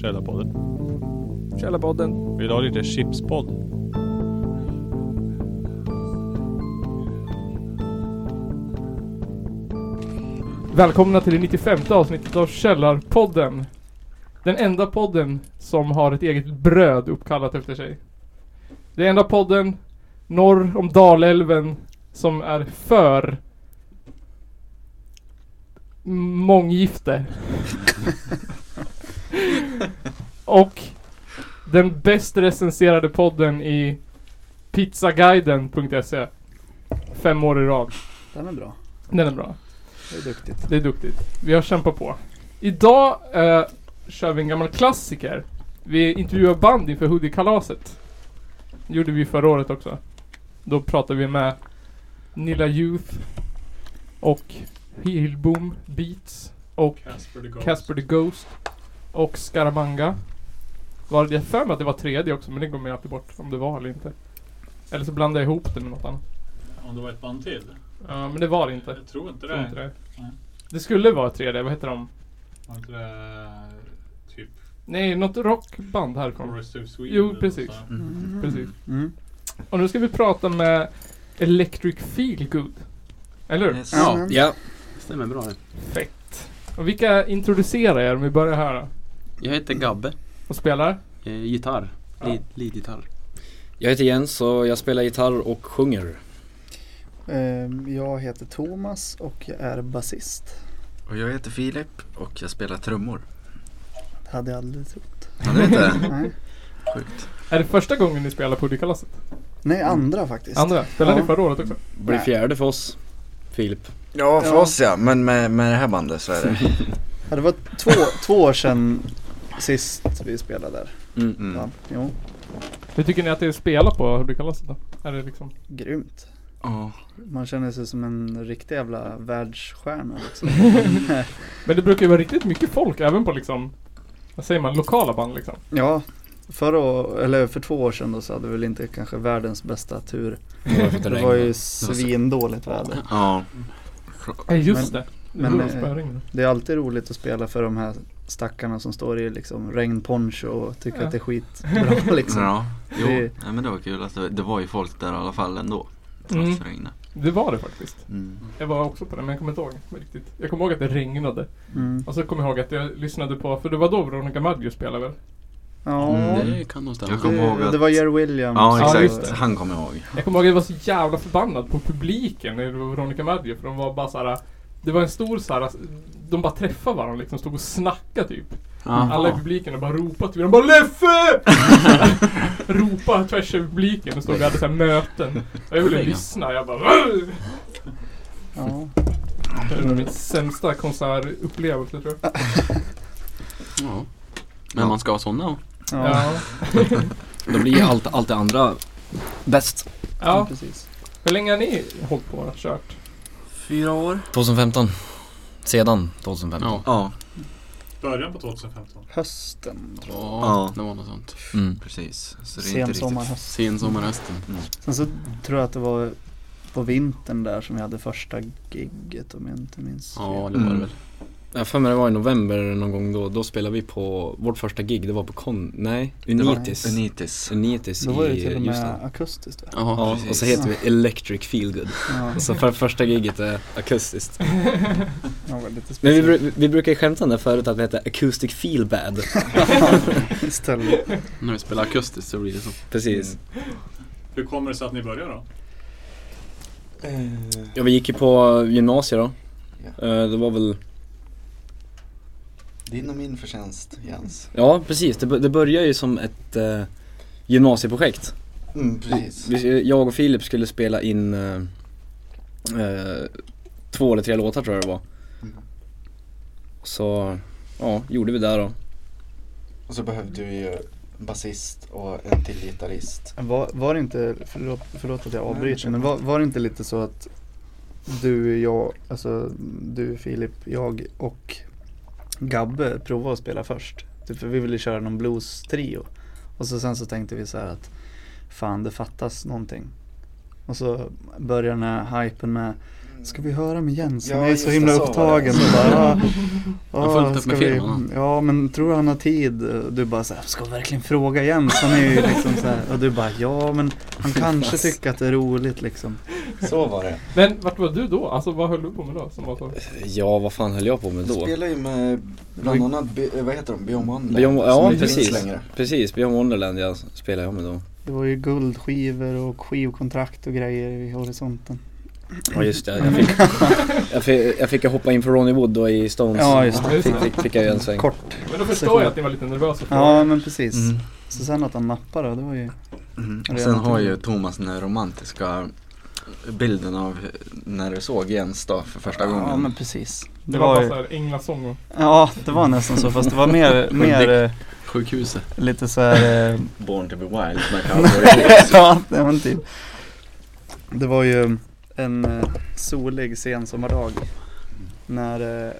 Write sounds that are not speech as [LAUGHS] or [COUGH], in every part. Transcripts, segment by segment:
Källarpodden. Källarpodden. Vill du ha lite chipspodd? Välkomna till det 95 avsnittet av Källarpodden. Den enda podden som har ett eget bröd uppkallat efter sig. Den enda podden norr om Dalälven som är för månggifte. Och den bäst recenserade podden i pizzaguiden.se. Fem år i rad. Den är bra. Den är bra. Det är duktigt. Det är duktigt. Vi har kämpat på. Idag eh, kör vi en gammal klassiker. Vi intervjuar band inför Hoodie-kalaset. Det gjorde vi förra året också. Då pratade vi med Nilla Youth och Hillboom Beats och Casper Casper the Ghost och Scaramanga. Var det jag för mig att det var tredje också, men det går mig alltid bort om det var eller inte. Eller så blandade jag ihop det med något annat. Om det var ett band till? Ja, men det var det inte. Jag tror inte Tror inte det. Nej. Det skulle vara tredje, vad heter de? Var inte det typ Nej, något rockband härifrån. of Sweden? Jo, precis. Mm. Mm. Precis. Och nu ska vi prata med Electric Feelgood. Eller hur? Yes. Ja. Ja. Mm. ja, stämmer bra det. Fett. Och vilka introducerar er om vi börjar här då? Jag heter Gabbe, Och spelar? eh, gitarr, Ja. lead, leadgitarr. Jag heter Jens och jag spelar gitarr och sjunger. Ehm, Jag heter Thomas och jag är basist. Och jag heter Filip och jag spelar trummor. Det hade jag aldrig trott. Ja, du vet det? [LAUGHS] Nej, Sjukt. [LAUGHS] Är det första gången ni spelar på Uddekalaset? Nej andra faktiskt. Andra? Spelade Ja. ni förra året också? Blir Nej. fjärde för oss, Filip. Ja, för Ja. oss ja. Men med, med det här bandet så är det. Ja, det var två, två år sedan sist vi spelade där. Mm. Mm. Ja, jo, Hur tycker ni att det är att spela på Uddekalaset då? Är det liksom... grymt. Ja. Man känner sig som en riktig jävla världsstjärna [LAUGHS] liksom. Men det brukar ju vara riktigt mycket folk även på liksom... Vad säger man? Lokala band liksom. Ja, förra, å- eller för två år sedan då så hade vi väl inte kanske världens bästa tur. Det var, för att Det regna. var ju svindåligt väder. ja. Nej, just det. men, det. eh, Men, Det är alltid roligt att spela för de här stackarna som står i liksom regnponcho och tycker Ja. att det är skitbra [LAUGHS] liksom. ja. Jo, Det- Nej, men det var kul att det, det var ju folk där i alla fall ändå. Trots Mm. det regnade. det var det faktiskt. Mm. Jag var också på det, men jag kommer inte ihåg riktigt. Jag kommer ihåg att det regnade. Mm. Och så kommer jag Alltså, ihåg att jag lyssnade på, för det var då Veronica Maggio spelade väl? Ja, Mm. Det kan nog Jag stämma. kommer ihåg det, att... det var Jerry Williams. Ja, Ja, exakt. just det. Han kommer jag ihåg. Jag kommer ihåg att jag var så jävla förbannad på publiken när det var Veronica Maggio, för de var bara såhär... Det var en stor såhär... De bara träffade varandra liksom, stod och snackade typ. Alla i Jaha. publiken har bara ropat till varandra. De bara Leffe! [LAUGHS] Ropa tvärs över publiken och stod och hade såhär möten. Och jag ville Fega. lyssna, jag bara... "Åh!" Ja. Det var min sämsta konsertupplevelse tror jag. Ja. Men man ska ha sådana. Ja. Ja. Då blir ju allt, allt det andra bäst. ja, ja. precis. Hur länge har ni hållit på och kört? Fyra år. 2015. Sedan 2015. Ja. Ja. Början på 2015. Hösten. ja. Ja. det var något sånt. Mm. Precis. Så det är inte Sen riktigt... Mm. sommarhöst. Sen sommarhösten. Sen så tror jag att det var på vintern där som vi hade första gigget om jag inte minns Ja, fel. det var det Mm. väl. Jag har för mig det var i november någon gång då. Då spelade vi på, vårt första gig det var på Kon... Nej, var- Unitis. Unitis. Unitis Då var det i till och Ljusdal. med akustiskt va? Ja, Ja, och så precis. heter vi Electric Feelgood. [LAUGHS] Ja, Så för första giget är akustiskt. det var lite Men vi, speciellt. bru- vi brukar ju skämta om det förut att vi heter Acoustic Feel Bad. Istället. [LAUGHS] När vi spelar akustiskt så blir det så. Precis. Hur kommer det sig att ni börjar då? Mm. Ja, vi gick ju på gymnasiet då. Eh, Det var väl, Din och min förtjänst Jens. ja precis, det, bör- det började ju som ett eh, gymnasieprojekt. Mm, Vi, jag och Filip skulle spela in eh, eh, två eller tre låtar tror jag det var. Mm. Så, ja, gjorde vi det då. Och så behövde vi ju basist och en till gitarrist. Var, var det inte, förlåt, förlåt att jag avbryter, men var, var det inte lite så att du, jag, alltså du, Filip, jag och Gabbe provade att spela först? Typ, för vi ville köra någon blues-trio. Och så sen så tänkte vi så här att fan det fattas någonting. Och så börjar den här hypen med Ska vi höra med Jens? Han Ja, är just så det, himla så var det. upptagen. och Bara, ah, Han har fullt upp ska med vi- filmen, Ja, men tror du han har tid? Du bara så här, ska vi verkligen fråga Jens? Han är ju liksom så här. Och du bara, ja men han kanske tycker att det är roligt liksom. Så var det. Men vart var du då? Alltså vad höll du på med då? Som var så? Ja, vad fan höll jag på med Du då? spelar ju med bland annat, Be- eh, vad heter de, Beyond Wonderland? Beyond- ja, som inte precis. finns längre. Precis, Beyond Wonderland jag spelar jag med då. Det var ju guldskivor och skivkontrakt och grejer i horisonten. Ja just det, jag fick, [LAUGHS] jag fick, jag fick hoppa in för Ronnie Wood då i Stones. Ja, just Ja, det. just Fick, det. fick, fick jag ju en sväng. Kort. Men då förstår jag att ni var lite nervösa. för- Ja, men precis. Mm. Så sen att han nappade, då, det var ju... Mm. Redan Sen har till- ju Thomas den här romantiska bilden av när du såg Jens då för första gången. Ja, men precis. Det var bara såhär änglasång och... Ja, det var nästan så. Fast det var mer, mer eh, Sjukhuset. lite så här... eh, Born to be wild [LAUGHS] med cowboy [LAUGHS] ja, det var typ. Det var ju en eh, solig sensommardag. När eh,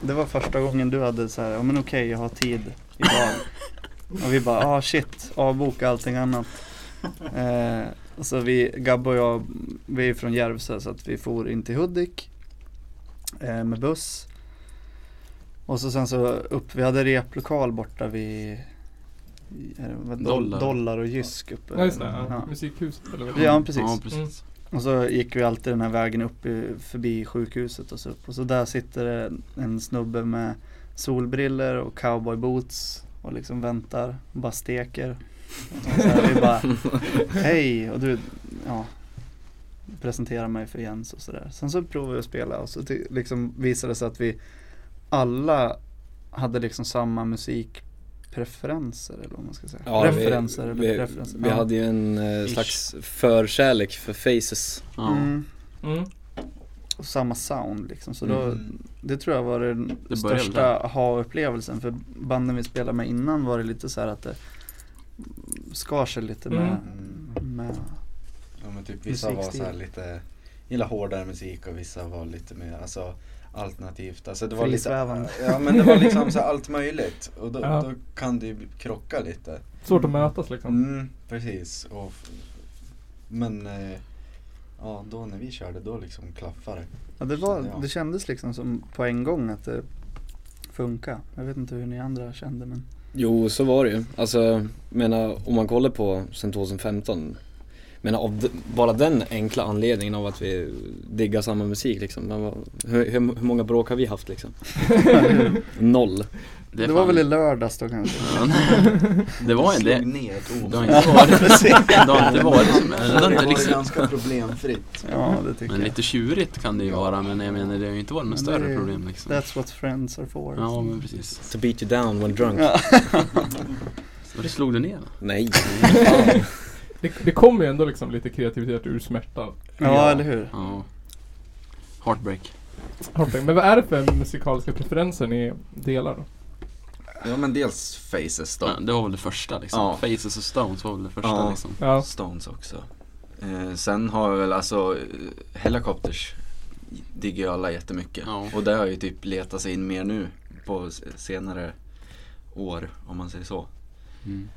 det var första gången du hade så här, ja men okej jag har tid idag. Och vi bara, ah shit, avboka allting annat. Eh, och så vi, Gabbe och jag, vi är från Järvsö så att vi for in till Hudik eh, med buss. Och så sen så upp, vi hade replokal borta vid i- är det, vad, dollar. Dollar. dollar och Jysk uppe. Ja just det, ja. Ja. musikhuset eller vad det Ja, precis. Ja, precis. Mm. Och så gick vi alltid den här vägen upp i, förbi sjukhuset och så upp. Och så där sitter det en snubbe med solbriller och cowboyboots och liksom väntar och bara steker. Och så här, vi [LAUGHS] bara, hej! Och du, ja, presenterar mig för Jens och sådär. Sen så provade vi att spela och så ty- liksom visade det sig att vi alla hade liksom samma musikpreferenser eller vad man ska säga. Ja, vi- Referenser eller vi, preferenser. vi Ja. hade ju en eh, Ish. slags förkärlek för Faces. Ja. Mm. Mm. och samma sound liksom. Så då, Mm. det tror jag var den Det började största där. aha-upplevelsen. För banden vi spelade med innan var det lite så här att det skar sig lite med, med Ja men typ vissa var Musikstil. så här lite, gilla hårdare musik och vissa var lite mer alltså alternativt. Alltså det var Frisvävande. lite, ja men det var liksom så här allt möjligt. Och då, Ja. då kan det ju krocka lite. Svårt att mötas liksom. Mm, precis. Och, f- men eh, ja, då när vi körde då liksom klaffade det. Ja, det, var, Kände jag. det kändes liksom som på en gång att det funkar. Jag vet inte hur ni andra kände men. Jo, så var det ju. Alltså, jag menar om man kollar på sen 2015. Jag menar av d- bara den enkla anledningen av att vi diggar samma musik liksom. Men vad, hur, hur, hur många bråk har vi haft liksom? [LAUGHS] Noll. Det, Det, är var fan- väl i lördags då kanske. Ja, [LAUGHS] Det var Slog [LAUGHS] det. ner ett Det ord. har inte [LAUGHS] varit precis. det. Har inte varit som, det har Det inte var liksom, ganska problemfritt. Ja det tycker men jag. lite tjurigt kan det ju vara men jag menar det har ju inte varit något Men det är- större problem liksom. That's what friends are for. Ja men precis. To beat you down when drunk. Ja. Och det slog du ner då? Nej. Det, det kommer ju ändå liksom lite kreativitet ur smärtan. ja eller hur. Ja. Heartbreak. Hopping. Men vad är det för musikaliska preferenser ni delar då? Ja men dels Faces då. Ja, det var väl det första liksom. Ja. Faces och Stones var väl det första Ja. liksom. Ja. Stones också. Eh, sen har vi väl alltså eh, Helicopters digger ju alla jättemycket. Ja. Och det har ju typ letat sig in mer nu på s- senare år om man säger så. Mm.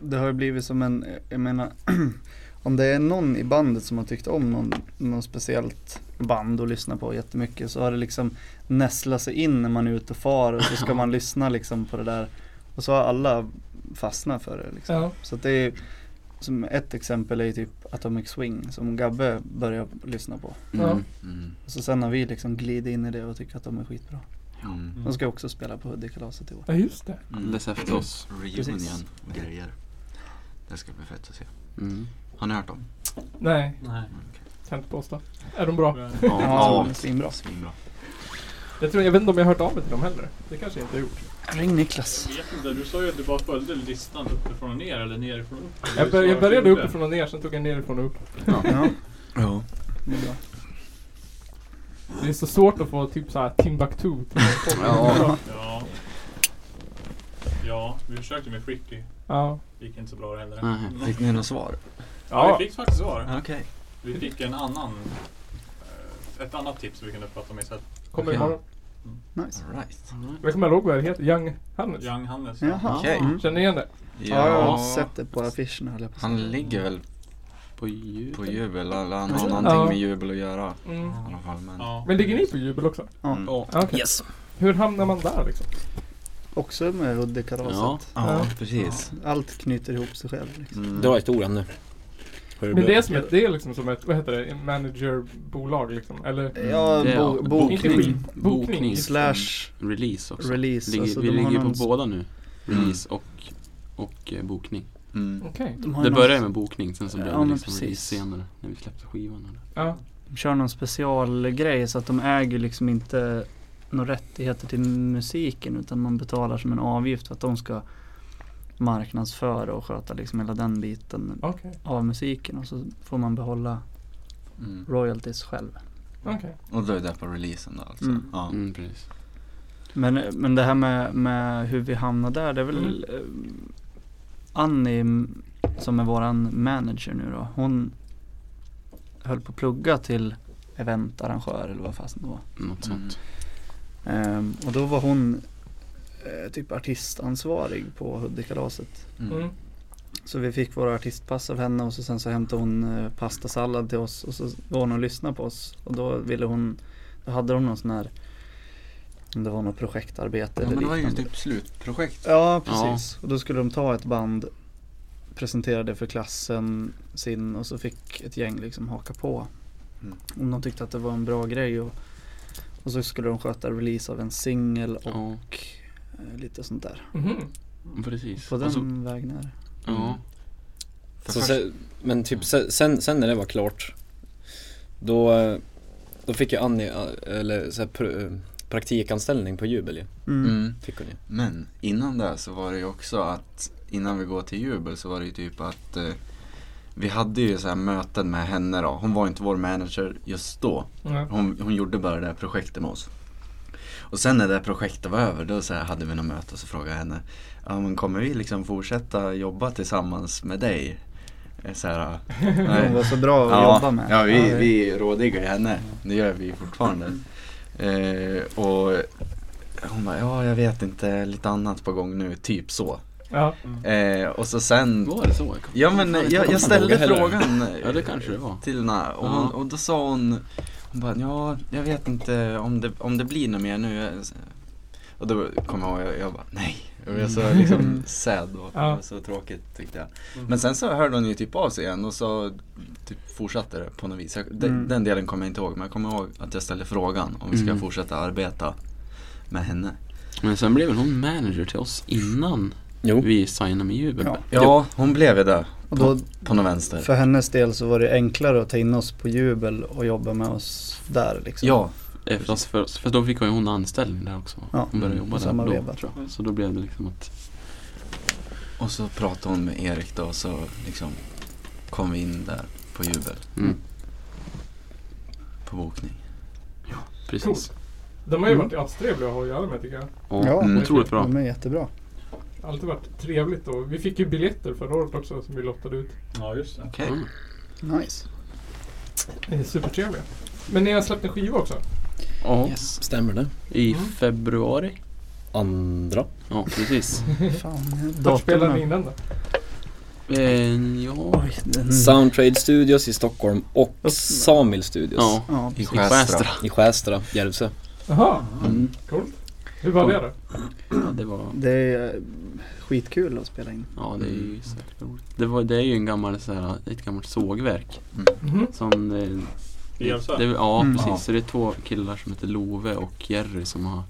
Det har ju blivit som en, jag menar, [CLEARS THROAT] om det är någon i bandet som har tyckt om någon, någon speciellt band och lyssna på jättemycket så har det liksom nästlat sig in när man är ute och far och så ska [LAUGHS] man lyssna liksom på det där och så har alla fastnat för det liksom. Ja. Så att det är som ett exempel är ju typ Atomic Swing som Gabbe började lyssna på. Ja. Mm. Mm. Och så sen har vi liksom glidit in i det och tycker att de är skitbra. Mm. De ska också spela på Hudikalaset i år. ja, just det. Alldeles efter oss. Reunion och grejer. Det ska bli fett att se. Mm. Har ni hört dem? Nej, Nej. kan inte påstå. Är de bra? Ja. Ja, de är svinbra. Svinbra. Jag, tror, jag vet inte om jag har hört av mig till dem heller. Det kanske jag inte har gjort. Ring Niklas. Jag vet inte, du sa ju att du bara följde listan uppifrån och ner eller nerifrån och upp. Jag, Du bör, sa jag att började du gjorde. uppifrån och ner, sen tog jag nerifrån och upp. Ja, Ja. det är bra. Det är så svårt att få typ såhär Timbuktu till Ja. Ja. Ja, vi försökte med Fricky. Ja. Det gick inte så bra heller. Nej. Fick ni något svar? Ja, ja. vi fick faktiskt svar. Okej. Vi fick en annan, eh, ett annat tips vi kunde prata om i set. Kommer Okej. imorgon. Nice. Alright. Jag kommer ihåg vad det heter. Young Hannes. Young Hannes. Jaha. Okej. Mm. Känner ni igen det? Ja, jag har sett det på affischen höll jag på att Han säga. ligger väl På jul? På jubel, han han har Ja. någonting med jubel att göra Mm. i alla fall. Men, Ja. Men ligger ni på jubel också? Ja. Mm. Ja. Ja, Okej. Yes! Hur hamnar man där liksom? Också med Huddekalaset. ja, Ja. precis. Allt knyter ihop sig själv. Liksom. Mm. Dra historien nu. Hur Men det är blev. som ett, det är liksom som ett, vad heter det, en managerbolag liksom? Eller? Ja, Mm, Det är- bo- Inte bokning. skit. Bokning. Slash Release också. release. Ligger, alltså, vi de har ligger på någon- båda nu. Release och, och eh, bokning. Mm. Okej. de har Det någon- började med bokning, sen så blev Ja, det men liksom precis. release senare. När vi släppte skivan. och det. Ja. De kör någon specialgrej så att de äger liksom inte några rättigheter till musiken utan man betalar som en avgift för att de ska marknadsföra och sköta liksom hela den biten Okej. av musiken och så får man behålla Mm. royalties själv. Okej. Och då är det på releasen då alltså. Mm. Ja. Mm, precis. Men, men det här med, med hur vi hamnar där, det är väl eh, Annie m- som är våran manager nu då, hon höll på att plugga till eventarrangör eller vad fasen det var. Något Mm. sånt. Ehm, och då var hon eh, typ artistansvarig på Huddekalaset. Mm. Mm. Så vi fick våra artistpass av henne och så sen så hämtade hon eh, pastasallad till oss och så var hon och lyssnade på oss. Och då ville hon, då hade de någon sån här, om det var något projektarbete Ja, eller men det var ju liknande. typ slutprojekt. Ja, precis. Och då skulle de ta ett band, presentera det för klassen sin och så fick ett gäng liksom haka på. Mm. Om de tyckte att det var en bra grej och, och så skulle de sköta release av en singel och Ja, eh, lite sånt där. Mhm. precis. Alltså- På den Och så- vägen är det. ja. För Så först- sen, men typ se- sen, sen när det var klart Då, eh, då fick ju Annie, eh, eller så här, pr- eh, praktikanställning på Jubel ju. Mm. mm. Fick hon ju. Men innan det så var det ju också att innan vi går till jubel så var det ju typ att eh, vi hade ju så här möten med henne då. Hon var inte vår manager just då. Ja. Hon, hon gjorde bara det här projektet med oss. Och sen när det här projektet var över då så här hade vi något möte och så frågade jag henne. Ja men kommer vi liksom fortsätta jobba tillsammans med dig? Eh, Så här, Hon var så bra att Ja, jobba med. Ja, vi, Ja, det- vi rådiggar henne. Det gör vi fortfarande. Eh, och hon bara, ja jag vet inte, lite annat på gång nu, typ så. Ja. Eh, och så sen, Var det så? Jag kommer- ja men Fan, jag, inte vad jag man ställde vågar heller. frågan Ja, det kanske det var. till henne och, Ja. hon, och då sa hon, hon bara, ja jag vet inte om det, om det blir något mer nu. Och då kom jag ihåg, jag, jag bara, nej. Jag blev så liksom sad och Ja. det var så tråkigt tyckte jag. Mm. Men sen så hörde hon ju typ av sig igen och så typ fortsatte det på något vis. Jag, den, Mm. den delen kommer jag inte ihåg men jag kommer ihåg att jag ställde frågan om vi ska Mm. fortsätta arbeta med henne. Men sen blev väl hon manager till oss innan Jo. vi signade med Jubel? Ja. Ja, hon blev ju det Och då, på någon vänster. för hennes del så var det enklare att ta in oss på jubel och jobba med oss där liksom. Ja, Eh, Fast, för, för då fick hon ju hon anställning där också. Ja, Hon började Mm, jobba där samma då veva. tror jag. Så då blev det liksom att och så pratade hon med Erik då och så liksom kom vi in där på jubel. Mm. På bokning. Precis. De har ju Mm. varit astrevliga att ha att göra med tycker jag. Ja, Ja. mm. otroligt bra. De är jättebra. Alltid varit trevligt och vi fick ju biljetter förra året också som vi lottade ut. Ja, just det. Okej. Mm. Nice. Det är supertrevliga. Men ni har släppt en skiva också? Ja, Yes. Stämmer det? i Mm. februari. Andra? Ja, [LAUGHS] precis. Fan, Vart spelade ni datumen. in den då? Eh, ja, Oj, Mm. den... Soundtrade Studios i Stockholm och Upp- Samil Studios ja. Ja, I I Skästra. Skästra. i Skästra, Järvsö. Jaha, Mm. coolt. Hur var det då? Ja, det var, det är eh, skitkul att spela in. ja, det är Mm. ju säkert roligt. Det, var, det är ju en gammal, så här, ett gammalt sågverk. Mhm. Som, eh, I Järvsö? det, ja, Mm. precis. Ja. Så det är två killar som heter Love och Jerry som har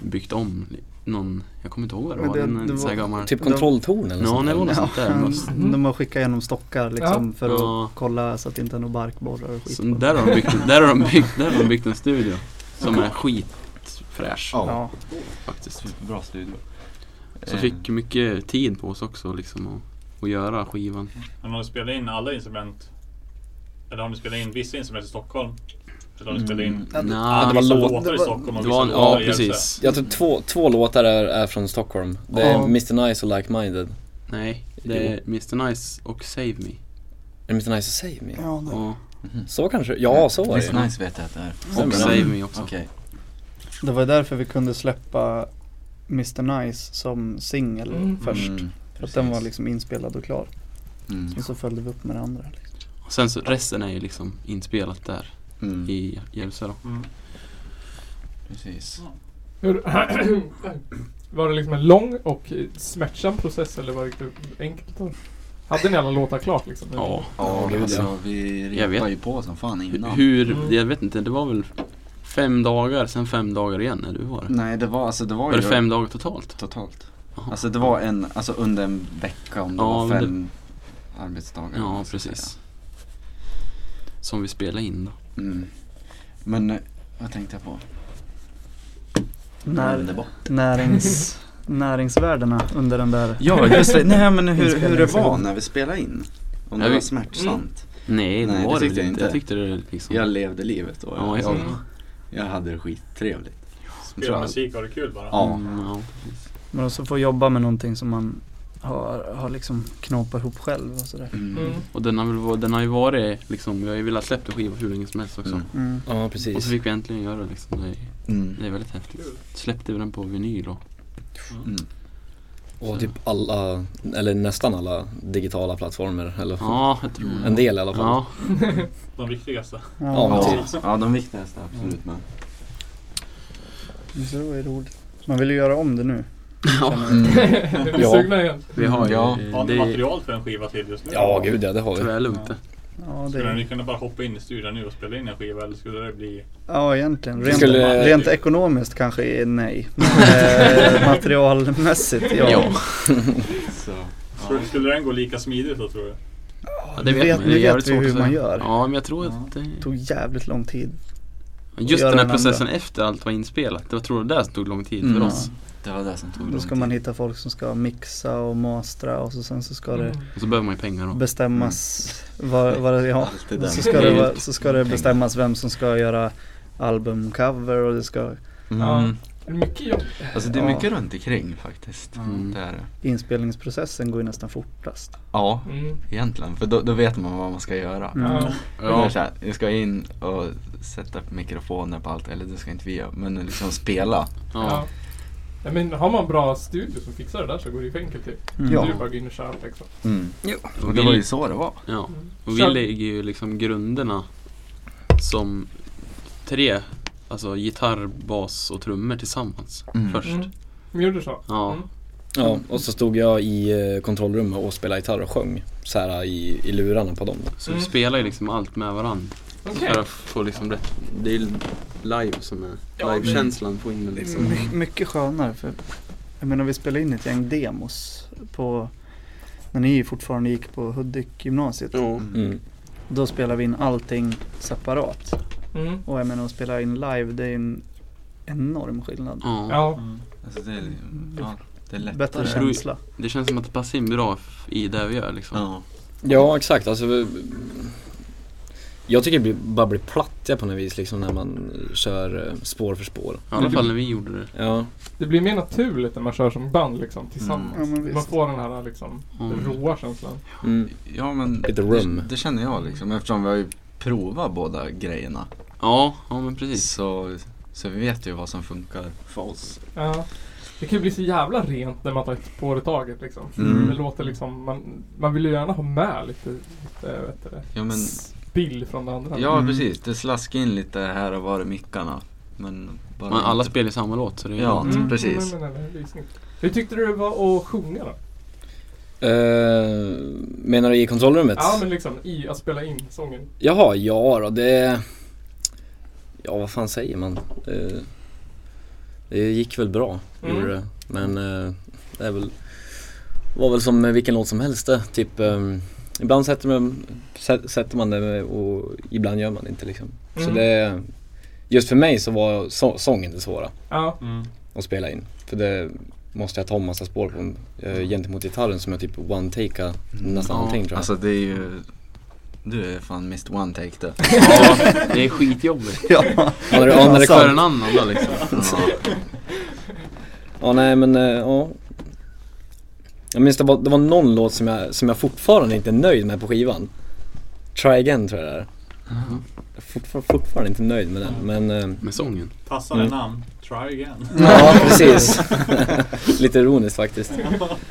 byggt om li- någon, jag kommer inte ihåg vad det Men var. det- Det, en det så här var- Mm. gammal... Typ kontrolltorn eller Ja, sånt det där. var något sånt där. Mhm. De har skickat igenom stockar liksom för att Ja. kolla så att det inte är några barkborrar och skit. Så på dem. där har de byggt, där har de byggt, där har de byggt en studio som är skitfräsch Ja, faktiskt. Bra studio. Eh. Så fick mycket tid på oss också liksom att, att göra skivan. Men har ni spelat in alla instrument? Eller har ni spelat in vissa instrument i Stockholm? Eller har ni spelat Mm. Mm. in Ja, det- Nja, det var vissa låt- låtar det i var- Stockholm och det var vissa en, låtar ja i Järvsö? precis. Jag tror två, två låtar är, är från Stockholm. Det är Ja. Mr Nice och Like Minded. Nej, det är Mr Nice och Save Me. Är det Mr Nice och Save Me? ja det- Ja, Så kanske? Ja, så var det Listen ju. Nice vet jag att det är. och Save Me också. Okej. det var ju därför vi kunde släppa Mr Nice som singel Mm. först. Mm, För att den var precis. liksom inspelad och klar. Mm. Och så följde vi upp med det andra. Liksom. Och sen så resten är ju liksom inspelat där Mm. i Järvsö då. Mm. Precis. Hur, [CLEARS THROAT] var det liksom en lång och eh, smärtsam process eller var det lite enkelt? då? Hade ni alla låtar klart liksom? Ja, Ja, gud, alltså ja. vi Jag repade vet. ju på som fan Hu- innan. hur, Mm. jag vet inte, det var väl fem dagar, sen fem dagar igen, eller hur var det? Nej, det var alltså det var Var det ju fem dagar totalt? totalt. Jaha. Alltså det var en, alltså under en vecka om det Ja, var men det- fem arbetsdagar. Ja, så att säga. precis. Som vi spelade in då. Mm. Men eh, vad tänkte jag på? När, Underbart. närings, [LAUGHS] näringsvärdena under den där. Ja, just det. Nej, men hur, hur det var Inspelningssession. när vi spelade in. Om Ja, det vi- var smärtsamt. Nej, det Nej, var det det väl tyckte jag inte. inte. Jag tyckte det liksom... Jag levde livet då. Ja, jag, ja. Mm. jag hade det skittrevligt. Spela musik och ha det kul bara. Ja. Mm, ja, precis. Men också få jobba med någonting som man har, har liksom knåpat ihop själv och sådär. Mm. Mm. [LAUGHS] Och den har, väl, varit- den har ju varit liksom, vi har ju velat släppa skiva hur länge som helst också. Mm. Mm. Ja, Och så precis. fick vi äntligen göra det liksom. Det är, Mm. det är väldigt häftigt. Kul. Släppte vi den på vinyl och Mm. Och typ alla, eller nästan alla digitala plattformar. Eller Ja, jag tror en det. del i alla fall. Ja, De viktigaste. Ja, men Ja, typ. ja, de viktigaste absolut men. Men Så det var ju roligt. Man vill ju göra om det nu. Mm. Är ni Ja. sugna igen? vi har ju... Ja. Har ni det är material för en skiva till just nu? Ja, gud ja, det har vi. tyvärr lugnt det. Ja, det Skulle ni kunna bara hoppa in i studion nu och spela in en skiva eller skulle det bli... ja egentligen. Rent, Skulle- rent ekonomiskt kanske är nej. Men, eh, materialmässigt, ja. Ja. Så. Skulle, skulle den gå lika smidigt då tror jag? Ja, Nu vet- Det är nu jävligt vet vi svårt hur att säga. man gör. Ja, men jag tror Ja. att det... Det tog jävligt lång tid. Just göra den här den processen efter allt var inspelat. Jag tror det där tog lång tid för Mm. oss. Det var det som tog Då lång ska man tid. hitta folk som ska mixa och mastra och så sen så ska Mm. det Och så behöver man ju pengar Mm. då. bestämmas vad, vad det, ja. Allt det där. Så ska Det det, är ju vara- så ska det bestämmas vem som ska göra albumcover och det ska Ja. Mm. Mycket jobb. Alltså det är Ja. mycket runt omkring faktiskt. Mm. Det är det. inspelningsprocessen går ju nästan fortast. Ja, Mm. egentligen. För då, då vet man vad man ska göra. Mm. Ja. Det är Ja. Så här, jag ska in och sätta upp mikrofoner på allt, eller det ska inte vi göra, men liksom spela. Ja. Ja, men har man bra studio som fixar det där så går det ju för enkelt till. Mm. Det är ju Ja. bara att gå in och köra liksom. Mm. Och Och det var vi, ju så det var. ja. Mm. Och vi Kör. lägger ju liksom grunderna som tre, alltså gitarr, bas och trummor tillsammans Mm. först. Mm. Vi gjorde så. Ja. Mm. Ja, och så stod jag i eh, kontrollrummet och spelade gitarr och sjöng. Så här i, i lurarna på dem. Så Mm. vi spelar ju liksom allt med varandra. Okej. För att få liksom rätt, det är ju live som är, Ja, livekänslan få in den liksom. My, mycket skönare för jag menar vi spelade in ett gäng demos på när ni fortfarande gick på Hudik gymnasiet. Ja. Mm. Då spelade vi in allting separat. Mm. Och jag menar att spela in live det är en enorm skillnad. ja. Ja. Alltså det är, ja, det är lättare. Bättre tror- känsla. Det känns som att det passar in bra f- i det vi gör liksom. Ja. Ja, exakt. Alltså, vi- jag tycker det blir, bara blir plattiga på något vis liksom när man kör eh, spår för spår. I alla fall när vi gjorde det. Ja, Det blir mer naturligt när man kör som band liksom tillsammans. Ja, men visst. Man får den här liksom Mm. råa känslan. mm. ja men Lite rum. Det, det känner jag liksom eftersom vi har ju provat båda grejerna. Ja, ja men precis. Så, så vi vet ju vad som funkar för oss. Ja. Det kan ju bli så jävla rent när man tar ett spår i taget liksom. Mm. Det låter liksom, man, man vill ju gärna ha med lite, lite eh, vet du det, Ja, men, spill från det andra. ja Mm. precis, det slaskar in lite här och var i mickarna. Men bara Men alla inte- spelar ju samma låt så det är Ja. precis. Mm. Men, men, men, det är snyggt. Hur tyckte du det var att sjunga då? Eh, menar du i kontrollrummet? Ja men liksom i att spela in sången. Jaha, ja då det... Ja vad fan säger man? Eh, Det gick väl bra, Mm. gjorde det. Men eh, det är väl... var väl som med vilken låt som helst det. Typ, ehm, ibland sätter man, sä- sätter man det med- och ibland gör man det inte liksom. Så Mm. det... Just för mig så var så, sången det svåra Ja. Mm. att spela in. För det måste jag ta massa spår på eh, gentemot gitarren som jag typ one-takea nästan Ja, allting tror jag. Alltså det är ju... Du är fan Mr One Take det. Ja, det är skitjobbigt. Ja. Ja, när det- ja, när det För kom- en annan då liksom. Ja nej men eh, ja Jag minns det var, det var någon låt som jag, som jag fortfarande inte är nöjd med på skivan Try Again tror jag det är Jag är fortfar- fortfarande inte nöjd med den men eh, Med sången. Passande Mm. namn. Try again. [LAUGHS] Ja precis [LAUGHS] Lite ironiskt faktiskt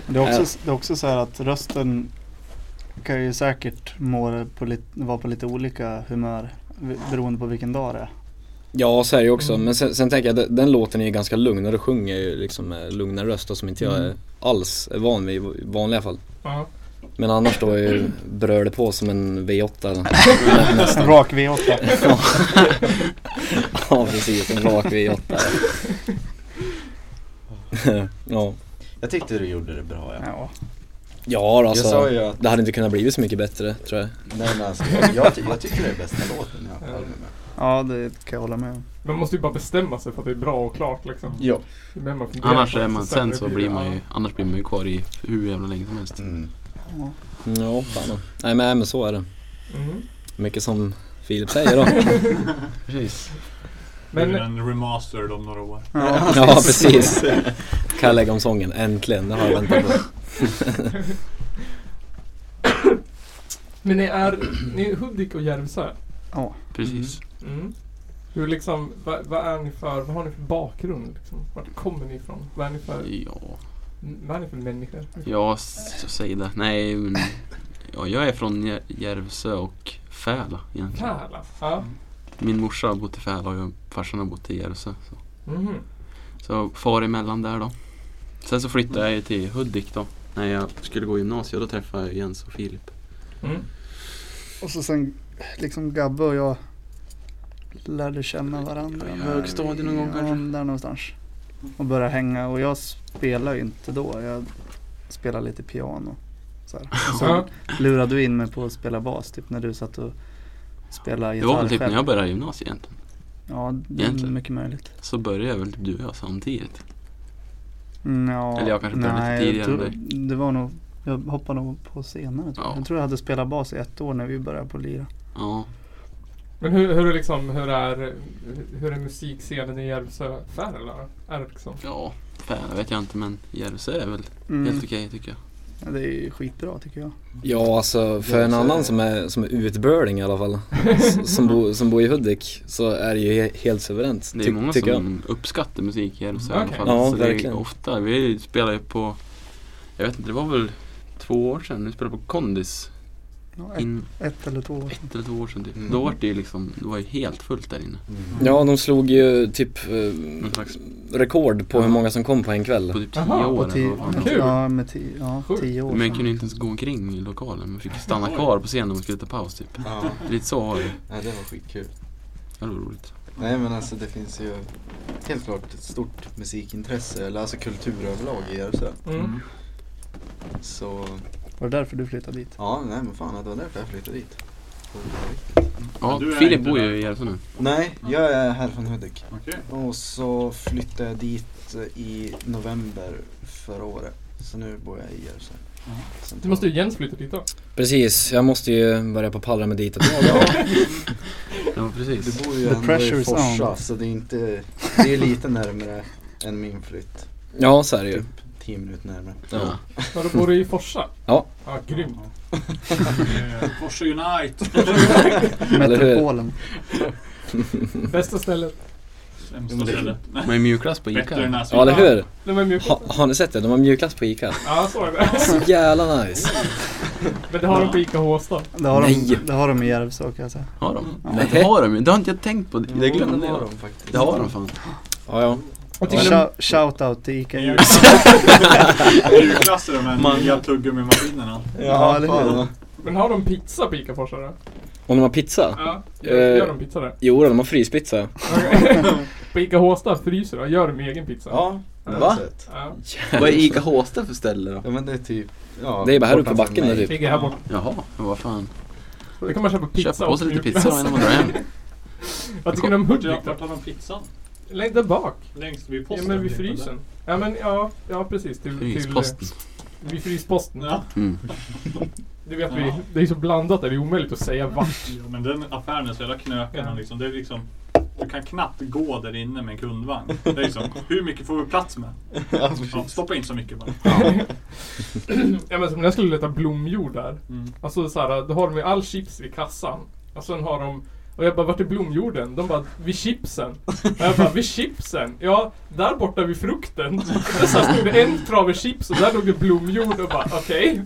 Det är också, det är också så här att rösten kan ju säkert må på lite, vara på lite olika humör v- beroende på vilken dag det är. Ja, så är det ju också. Mm. Men sen, sen tänker jag, den, den låten är ju ganska lugn och du sjunger ju liksom med lugna röster som inte jag Mm. är alls är van vid i vanliga fall. Ja. Men annars då är ju bröl det på som en V8 [LAUGHS] eller? Rak V8. Ja precis, en rak [LAUGHS] V8 Ja, Jag tyckte du gjorde det bra ja. Ja. ja då, Jag sa alltså ju att, det hade inte kunnat bli så mycket bättre tror jag nej men alltså, jag, jag, ty- jag tycker det är bästa låten jag har på albumet. ja, det kan jag hålla med om. Eh, Man måste ju bara bestämma sig för att det är bra och klart liksom. Ja. Det är det man funderar Annars på, är man, sen så det blir man ju, annars blir man ju kvar i hur jävla länge som helst. Mm. Ja. Ja, fan. då. Nej men, nej, men så är det ja. Mm. Mycket som Filip säger [LAUGHS] då Precis. Men... Mm. Men En remaster om några år. Ja. Ja precis Kan jag lägga om sången, äntligen, det har jag väntat på Men ni är, ni är Hudik och Järvsö? Precis. Mm. Hur liksom, vad, vad är ni för, vad har ni för bakgrund? Liksom? Vart kommer ni ifrån? Vad är ni för, Ja, m- vad är ni för människor? ja s- så säg det. Nej men, ja, jag är från Jär- Järvsö och Fäla egentligen. Pärla? Ja. Min morsa har bott i Fäla och jag, farsan har bott i Järvsö. Så. Mhm. Så jag far emellan där då. Sen så flyttade jag ju till Hudik då. När jag skulle gå i gymnasiet då träffade jag Jens och Filip. Mm. Och så sen liksom Gabbe och jag lärde känna varandra. Ja, i när- högstadiet någon gång ja, kanske. Där någonstans. Och började hänga och jag spelar ju inte då. Jag spelar lite piano. [LAUGHS] Så, här. Och så Ja. lurade du in mig på att spela bas typ när du satt och spelade Det gitarr var väl typ själv. när jag började gymnasiet egentligen. Ja, det är Egentligen. mycket möjligt. Så började väl typ du och jag samtidigt. Mm, ja, Eller jag kanske började lite nej, jag tidigare än tror- Det var nog, jag hoppade nog på senare tror Ja. jag. Jag tror jag hade spelat bas i ett år när vi började på att lira. Ja. Men hur, hur är liksom, hur är, hur är musikscenen i Järvsö Färla? Är det liksom? Ja, Fäla vet jag inte men Järvsö är väl Mm. helt okej tycker jag. Ja, Det är ju skitbra tycker jag. Ja alltså för en annan som är, som är utbörling i alla fall s- som, bo, som bor i Hudik så är det ju he- helt suveränt Det är ty- många tycker jag. som uppskattar musik i Järvsö i alla Okej. fall. Ja, så det är verkligen. ofta. Vi spelade ju på, jag vet inte, det var väl två år sedan. Vi spelade på Kondis. Ja, ett, In, ett eller två år. ett eller två år sedan typ. Mm. Då var det ju liksom, det var ju helt fullt där inne. Ja, de slog ju typ eh, Någon slags, rekord på hur många som kom på en kväll. på typ tio Aha, på år. På eller tio, vad fan det var. Kul. ja, med tio, ja, Sjukt. tio år Men jag sedan. kunde inte ens gå omkring i lokalen. Man fick stanna kvar på scenen om man skulle ta paus typ. Ja, Lite så var det. ja, det var skitkul. Ja, det var roligt. Nej men alltså det finns ju helt klart ett stort musikintresse, eller alltså kultur överlag i Järvsö. Mm. Så Var det därför du flyttade [LAUGHS] dit? ja, nej men fan det var därför jag flyttade dit. Ja, du är Filip inte bor ju där. i Järvsö nu. Nej, jag är här från Hudik. Okej. Och så flyttade jag dit i november förra året. Så nu bor jag i Järvsö. Du måste ju Jens flytta dit då? Precis, jag måste ju börja på pallra med dit ett tag. Ja, precis. Du bor ju The ändå pressure i is Forsa on. så det är inte, det är ju lite närmare än min flytt. [LAUGHS] Ja, så är det ju. Tio minuter närmare. Ja. Ja, då bor du i Forsa? Ja. Ja, grymt. Eh, Forsa Unite! [LAUGHS] Eller hur? Metropolen. Bästa stället. Sämsta stället. Man är mjukglass på [LAUGHS] Bättre Ica. än Ja, Näsvik. eller hur? De är mjuka. Ha, har ni sett det? De har mjukglass på Ica. Ja, så är det. Så jävla nice. Men det har de på Ica Håstad. Det har, Nej. de, det har de i alltså. Järvsö kan jag säga. Har de? Nej. Nej. Det har de ju. Det har inte jag tänkt på. Det glömde har jag. de faktiskt. Det har de fan. Ja, ja. Jag tycker de, Shou- Shout out till Ica Järvsö. Julklass är de här nya tuggummimaskinerna. Ja, eller hur? fan. men har de pizza på Ica Forsa då? Om de har pizza? Ja. Eh. Gör, gör de pizza där? Jo, de har fryspizza. på Ica Håstad fryser de, gör de egen pizza? Ja, det har Va? jag sett. Ja. Vad är Ica Håsta för ställe då? Ja men det är typ, ja. Det är bara här uppe på bortanför backen där mig. typ. Ligger här borta. Jaha, men vad fan. Då kan man köpa pizza Köp på sig och lite mjukglass. pizza då innan man drar hem. Vad tycker du om Vart Hudik är- då? vart har de pizzan? Längst där bak. Längst vid Ja, posten? men vid typ, frysen. Ja, men ja, ja precis. Till, till, Frysposten. Vid frysposten. eller? Ja. Mm. Det vet Ja. vi. Det är så blandat där, det är omöjligt att säga vart. Ja, men den affären är så jävla knökig. Ja. Liksom. Det är liksom, du kan knappt gå där inne med en kundvagn. Det är liksom, hur mycket får vi plats [LAUGHS] med? Ja, Ja, precis. stoppa in så mycket bara. ja, men som när jag skulle leta blomjord där. Mm. Alltså så här, då har de ju all chips vid kassan. Och sen har de och jag bara, vart är blomjorden? De bara, vid chipsen. Och jag bara, vid chipsen? Ja, där borta vid [LAUGHS] frukten. Där så här stod det en trave chips och där låg det blomjord och bara, okej.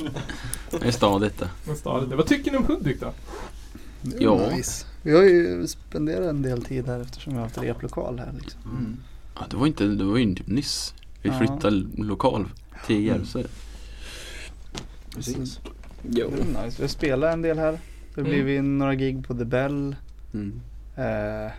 Det är stadigt det. Men stadigt. Vad tycker ni om Hudik då? Ja. nice. Vi har ju spenderat en del tid här eftersom vi har haft replokal här liksom. Mm. Ja, det var inte, det var ju typ nyss. Vi Ja. flyttade lo- lokal till Järvsö. Precis. Det Jo. är nice. Vi har spelat en del här. Det har Mm. blivit några gig på The Bell. Mm. Eh,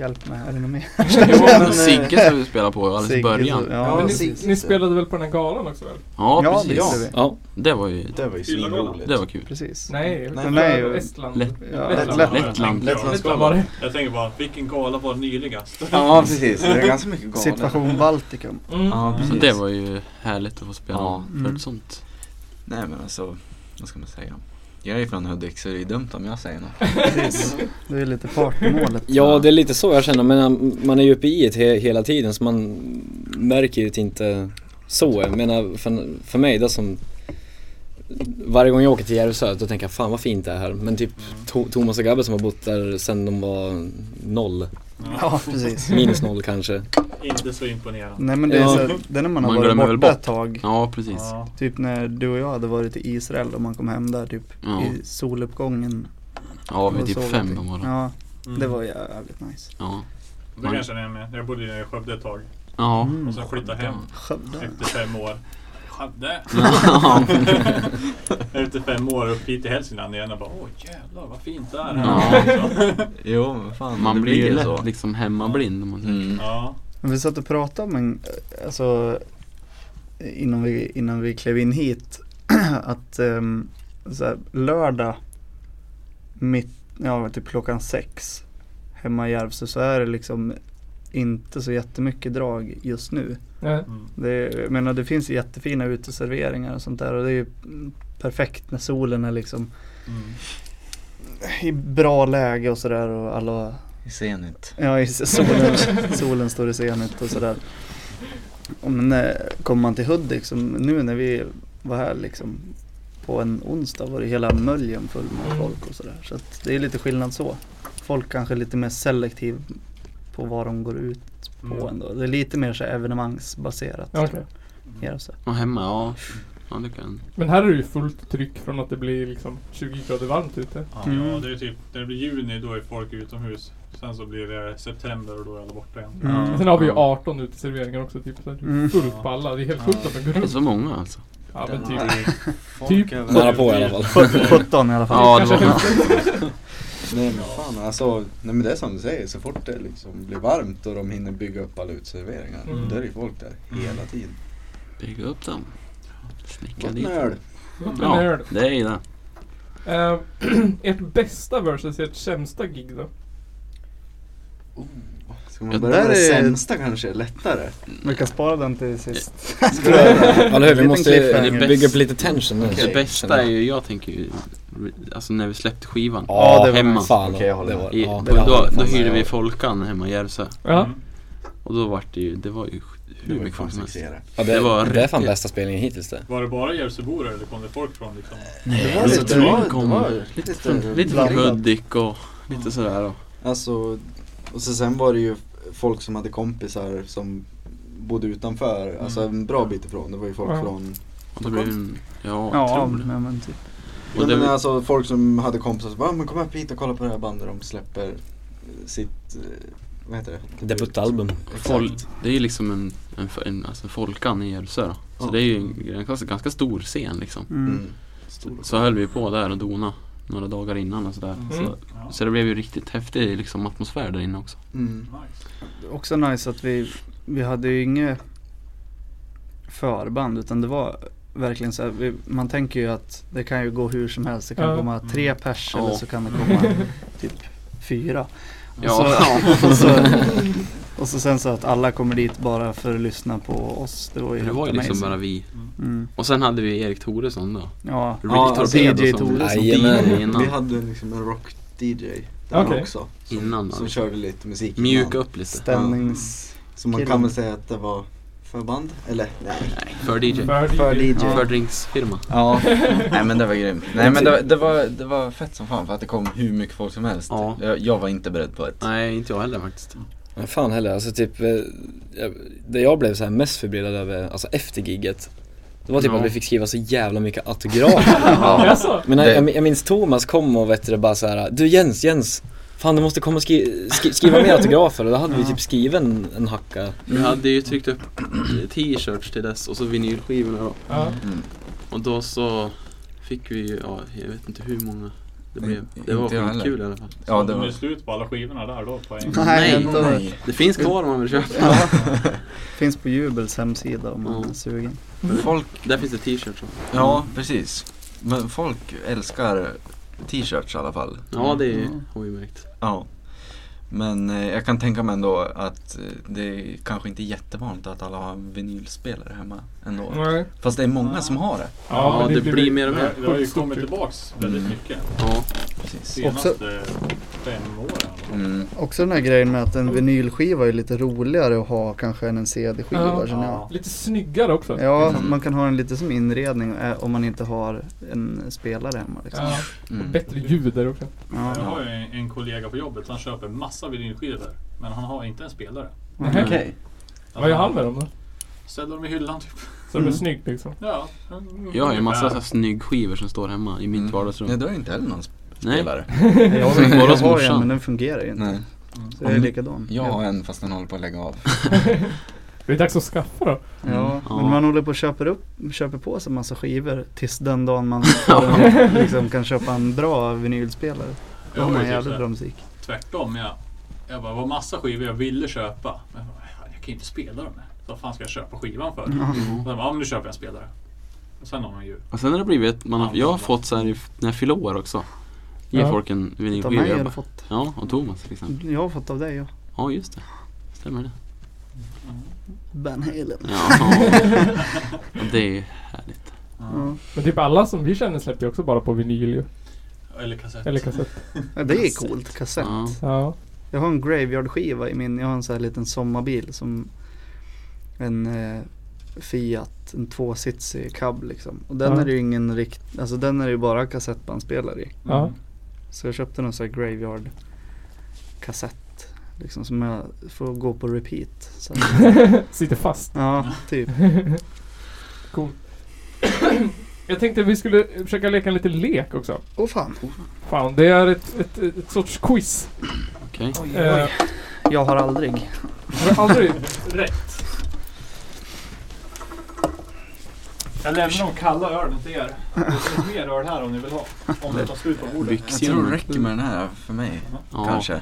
hjälp mig, är det något mer? Det var väl Men, Sigge som vi spelade på alldeles i Sigge, början. Men Ja, ni, precis. ni spelade väl på den här galan också väl? Ja, Ja, det precis. gjorde vi. Ja, Det var ju Det var ju svinroligt. svinroligt. det var kul. Precis. Nej, Nej, nej, nej. Estland. Lätt- Ja, alltså, Lettland. Lettland. Lettland. Lettland. Estland var det. Jag tänker bara, vilken gala var nyligast? Ja precis, det är ganska mycket galet. Situation Baltikum. Mm. Ja Så precis. det var ju härligt att få spela Ja. för Mm. ett sånt. Nej men alltså, vad ska man säga? Jag är från Hudik så det är dumt om jag säger något. Precis. Det är lite partymålet. ja det är lite så jag känner men um, man är ju uppe i det he- hela tiden så man märker ju det inte så. Jag menar för, för mig det som varje gång jag åker till Järvsö då tänker jag fan vad fint det är här. Men typ to- Thomas och Gabbe som har bott där sedan de var noll, [LAUGHS] Ja, precis. minus noll kanske. Inte så imponerande. Nej men det är Ja. så, här, det är när man har Man varit glömmer borta väl ett tag. Ja, precis. Ja. Typ när du och jag hade varit i Israel och man kom hem där typ Ja, i soluppgången. ja vi är och typ sov fem på någonting. morgonen. Ja, Mm. det var jävligt nice. Ja. Det Man- kan jag känna med. Jag bodde i Skövde ett tag Ja. och sen flyttade hem Skövde. efter fem år. Skövde! [LAUGHS] efter fem år upp hit till Hälsingland igen och bara åh jävlar vad fint det är här. Ja. Jo men fan, Man det blir ju ju lätt liksom hemmablind om man säger. Mm. [LAUGHS] ja. Men vi satt och pratade om en, alltså innan vi, innan vi klev in hit [CLEARS THROAT] att ehm, så här, lördag mitt, ja typ klockan sex hemma i Järvsö så är det liksom inte så jättemycket drag just nu. Nej. Mm. Det, är- jag menar det finns ju jättefina uteserveringar och sånt där och det är ju mm, perfekt när solen är liksom Mm. i bra läge och sådär och alla I Zenit. Ja, just det. solen, [LAUGHS] solen står i scenet och sådär. Och Men eh, kommer man till Hudik, som nu när vi var här liksom på en onsdag var det hela möljen full med Mm. folk och sådär. Så att det är lite skillnad så. Folk kanske är lite mer selektiv på vad de går ut på Mm. ändå. Det är lite mer så här evenemangsbaserat. Okej. tror jag. Ja, så. Och hemma, ja. Ja, det kan. Men här är det ju fullt tryck från att det blir liksom 20 grader varmt ute. Mm. Ja, det är typ, när det blir juni då är folk utomhus. Sen så blir det september och då är alla borta igen. Mm. Sen har vi ju 18 uteserveringar också typ. Så det är Mm. fullt på alla. Det är helt sjukt att de går Det är runt. så många alltså. Ja men typ. Typ. Typ. Nära på i alla Mm. fall. 17 i alla fall. Ja, det var många. Nej men fan alltså, nej men det är som du säger, så fort det liksom blir varmt och de hinner bygga upp alla uteserveringar, Mm. då är det ju folk där Mm. hela tiden. Bygga upp dem. Snickra Gott dit. med öl. Men Ja, hör det är ju det. du, eh, [CLEARS THROAT] ert bästa versus ert sämsta gig då? Ska man Ja, börja där med det är- sämsta kanske, lättare? Vi kan spara den till sist. Eller hur, vi Liten måste cliffhanger. bygga upp lite tension nu. Okej. Det bästa är ju, jag tänker ju, alltså när vi släppte skivan. Ja, det var hemma. Fan, Okej, jag håller det med. var, I, ja, då, det var, då, då fan hyrde med. vi Folkan hemma i Järvsö. Ja. Mm. Och då vart det ju, det var ju hur mycket folk som helst. fixera. ja, det, det var det är fan riktigt- bästa spelningen hittills det. Var det bara Järvsöbor eller kom det folk från liksom? Det var lite- det det kom- lite, Lite från blandat. Hudik och lite sådär då. Alltså, och så sen var det ju folk som hade kompisar som bodde utanför, alltså en bra bit ifrån. Det var ju folk Ja. från... Och då blev det en, ja, jag Ja, tror det. ja, men typ. Och det Nej, men var- alltså folk som hade kompisar som bara, "Ah, men kom upp hit och kolla på det här bandet de släpper eh, sitt, eh, vad heter det? Debutalbum. Exakt. Folk, det är ju liksom en, en, en alltså Folkan i Järvsö då. Så Ja. det är ju en, en ganska, ganska stor scen liksom. Mm. Mm. Stor. Så höll vi på där och dona några dagar innan och sådär. Mm. Så, Ja. så det blev ju riktigt häftig liksom, atmosfär där inne också. Mm. Nice. också nice att vi, vi hade ju inget förband utan det var verkligen så här, vi, man tänker ju att det kan ju gå hur som helst. Det kan Ja. komma tre Mm. pers Ja. eller så kan det [LAUGHS] komma typ fyra. Ja, Så, och, så, och så sen så att alla kommer dit bara för att lyssna på oss. Det var [LAUGHS] ju det helt var ju liksom amazing. bara vi. Mm. Och sen hade vi Erik Thoresson då. Ja, Rick Ja, Torped DJ och sånt. Thoresson. DJ Vi innan. hade liksom en rock-DJ där Okej. också. Innan då. Som körde lite musik innan. Mjuka upp lite. ställnings... Så man kan väl säga att det var förband? Eller? Nej. Nej, för DJ. För DJ. Ja. För drinksfirma. Ja, nej men det var grymt. Nej men det, var- det, var, det var fett som fan för att det kom hur mycket folk som helst. Ja. Jag, jag var inte beredd på det. Nej, inte jag heller faktiskt. Men fan heller, alltså typ eh, jag- Det jag blev så här mest förbryllad över, alltså efter gigget Det var typ Ja. att vi fick skriva så jävla [LAUGHS] mycket autografer. Ja. Jaså? Men jag, Det- jag, jag minns Thomas kom och vet du, bara så här. Du Jens, Jens, fan du måste komma och skri skri skriva mer autografer och då hade vi typ skrivit en, en hacka. Mm. Vi hade ju tryckt upp [CLEARS THROAT] t-shirts till dess och så vinylskivorna då. Ja. Mm. Och då så fick vi ju, ja, jag vet inte hur många det blev. Det Inte jag var heller. skitkul i alla fall. Ja, det det är var... slut på alla skivorna där då på en gång. Nej, Nej, då Nej. Det finns kvar om man vill köpa. finns på Jubels hemsida om man Ja. är sugen. Folk, Där finns det t-shirts. också. ja precis. Men folk älskar t-shirts i alla fall. Ja, det Mm. har vi märkt. Ja. Men eh, jag kan tänka mig ändå att eh, det är kanske inte jättevanligt att alla har en vinylspelare hemma ändå. Nej. Fast det är många som har det. Ja, men det blir mer och Det mer. har- det har ju Sjukt stort kommit typ. tillbaks väldigt Mm. mycket. Ja, Precis. Senaste fem åren. Mm. Också den här grejen med att en vinylskiva är lite roligare att ha kanske än en CD-skiva Ja. känner jag. Lite snyggare också. Ja, Mm. man kan ha den lite som inredning eh, om man inte har en spelare hemma liksom. Ja. Mm. Bättre ljud där också. Ja. Jag har ju en, en kollega på jobbet som köper massa vinylskivor. Men han har inte en spelare. Nähä. Okej. Vad gör han med dem då? Ställer dem i hyllan typ. Så det blir Mm. snyggt liksom. Ja. mm, jag har ju en massa ungefär. så här snyggskivor som står hemma i mitt Mm. vardagsrum. Nej, du har ju inte heller någon Nej, spelare. Jag har, Bara jag hos har morsan. en men den fungerar ju inte. Nej. Så jag är likadan. Jag har en fast den håller på att lägga av. Det är dags att skaffa då. Ja, Ja. men man håller på och köper, upp, köper på sig massa skivor tills den dagen man får en, liksom, kan köpa en bra vinylspelare. Då Jag har var man ju typ så jävligt här, bra musik. tvärtom. Jag, jag bara, det var massa skivor jag ville köpa. Men jag, bara, "Fan, jag kan ju inte spela dem. här. Vad fan ska jag köpa skivan för? Ja. Och sen bara, ja men nu köper jag en spelare. Och sen har man ju... Och sen har det blivit att man har, jag har fått så här i- när jag fyller år också. Ger Ja. folk en Utav vinylskiva. mig har Jag du bara- fått. Ja, och Thomas till exempel. Jag har fått av dig ja. Ja, just det. Stämmer det? Van Halen. Ja. Och det är härligt. Ja. Men typ alla som vi känner släpper ju också bara på vinyl ju. Eller kassett. Eller kassett. Ja, det är coolt, kassett. Ja. Ja. Jag har en Graveyard-skiva i min, jag har en sån här liten sommarbil som en eh, Fiat, en tvåsitsig cab liksom. Och den Ja. är det ju ingen rikt, alltså den är det ju bara kassettbandspelare i. Mm. Ja. Så jag köpte någon sån här Graveyard kassett. Liksom som jag får gå på repeat. Så, [LAUGHS] [LAUGHS] Sitter fast. ja, typ. Cool. Jag tänkte vi skulle försöka leka en liten lek också. Åh fan. Fan, det är ett, ett, ett sorts quiz. Okej. Eh, Jag har aldrig. Jag har aldrig rätt. Jag lämnar de kalla ölen till er. Det finns mer öl här om ni vill ha. Om det tar slut på bordet. Jag tror det räcker med den här för mig. Ja, eh, Mm. Kanske.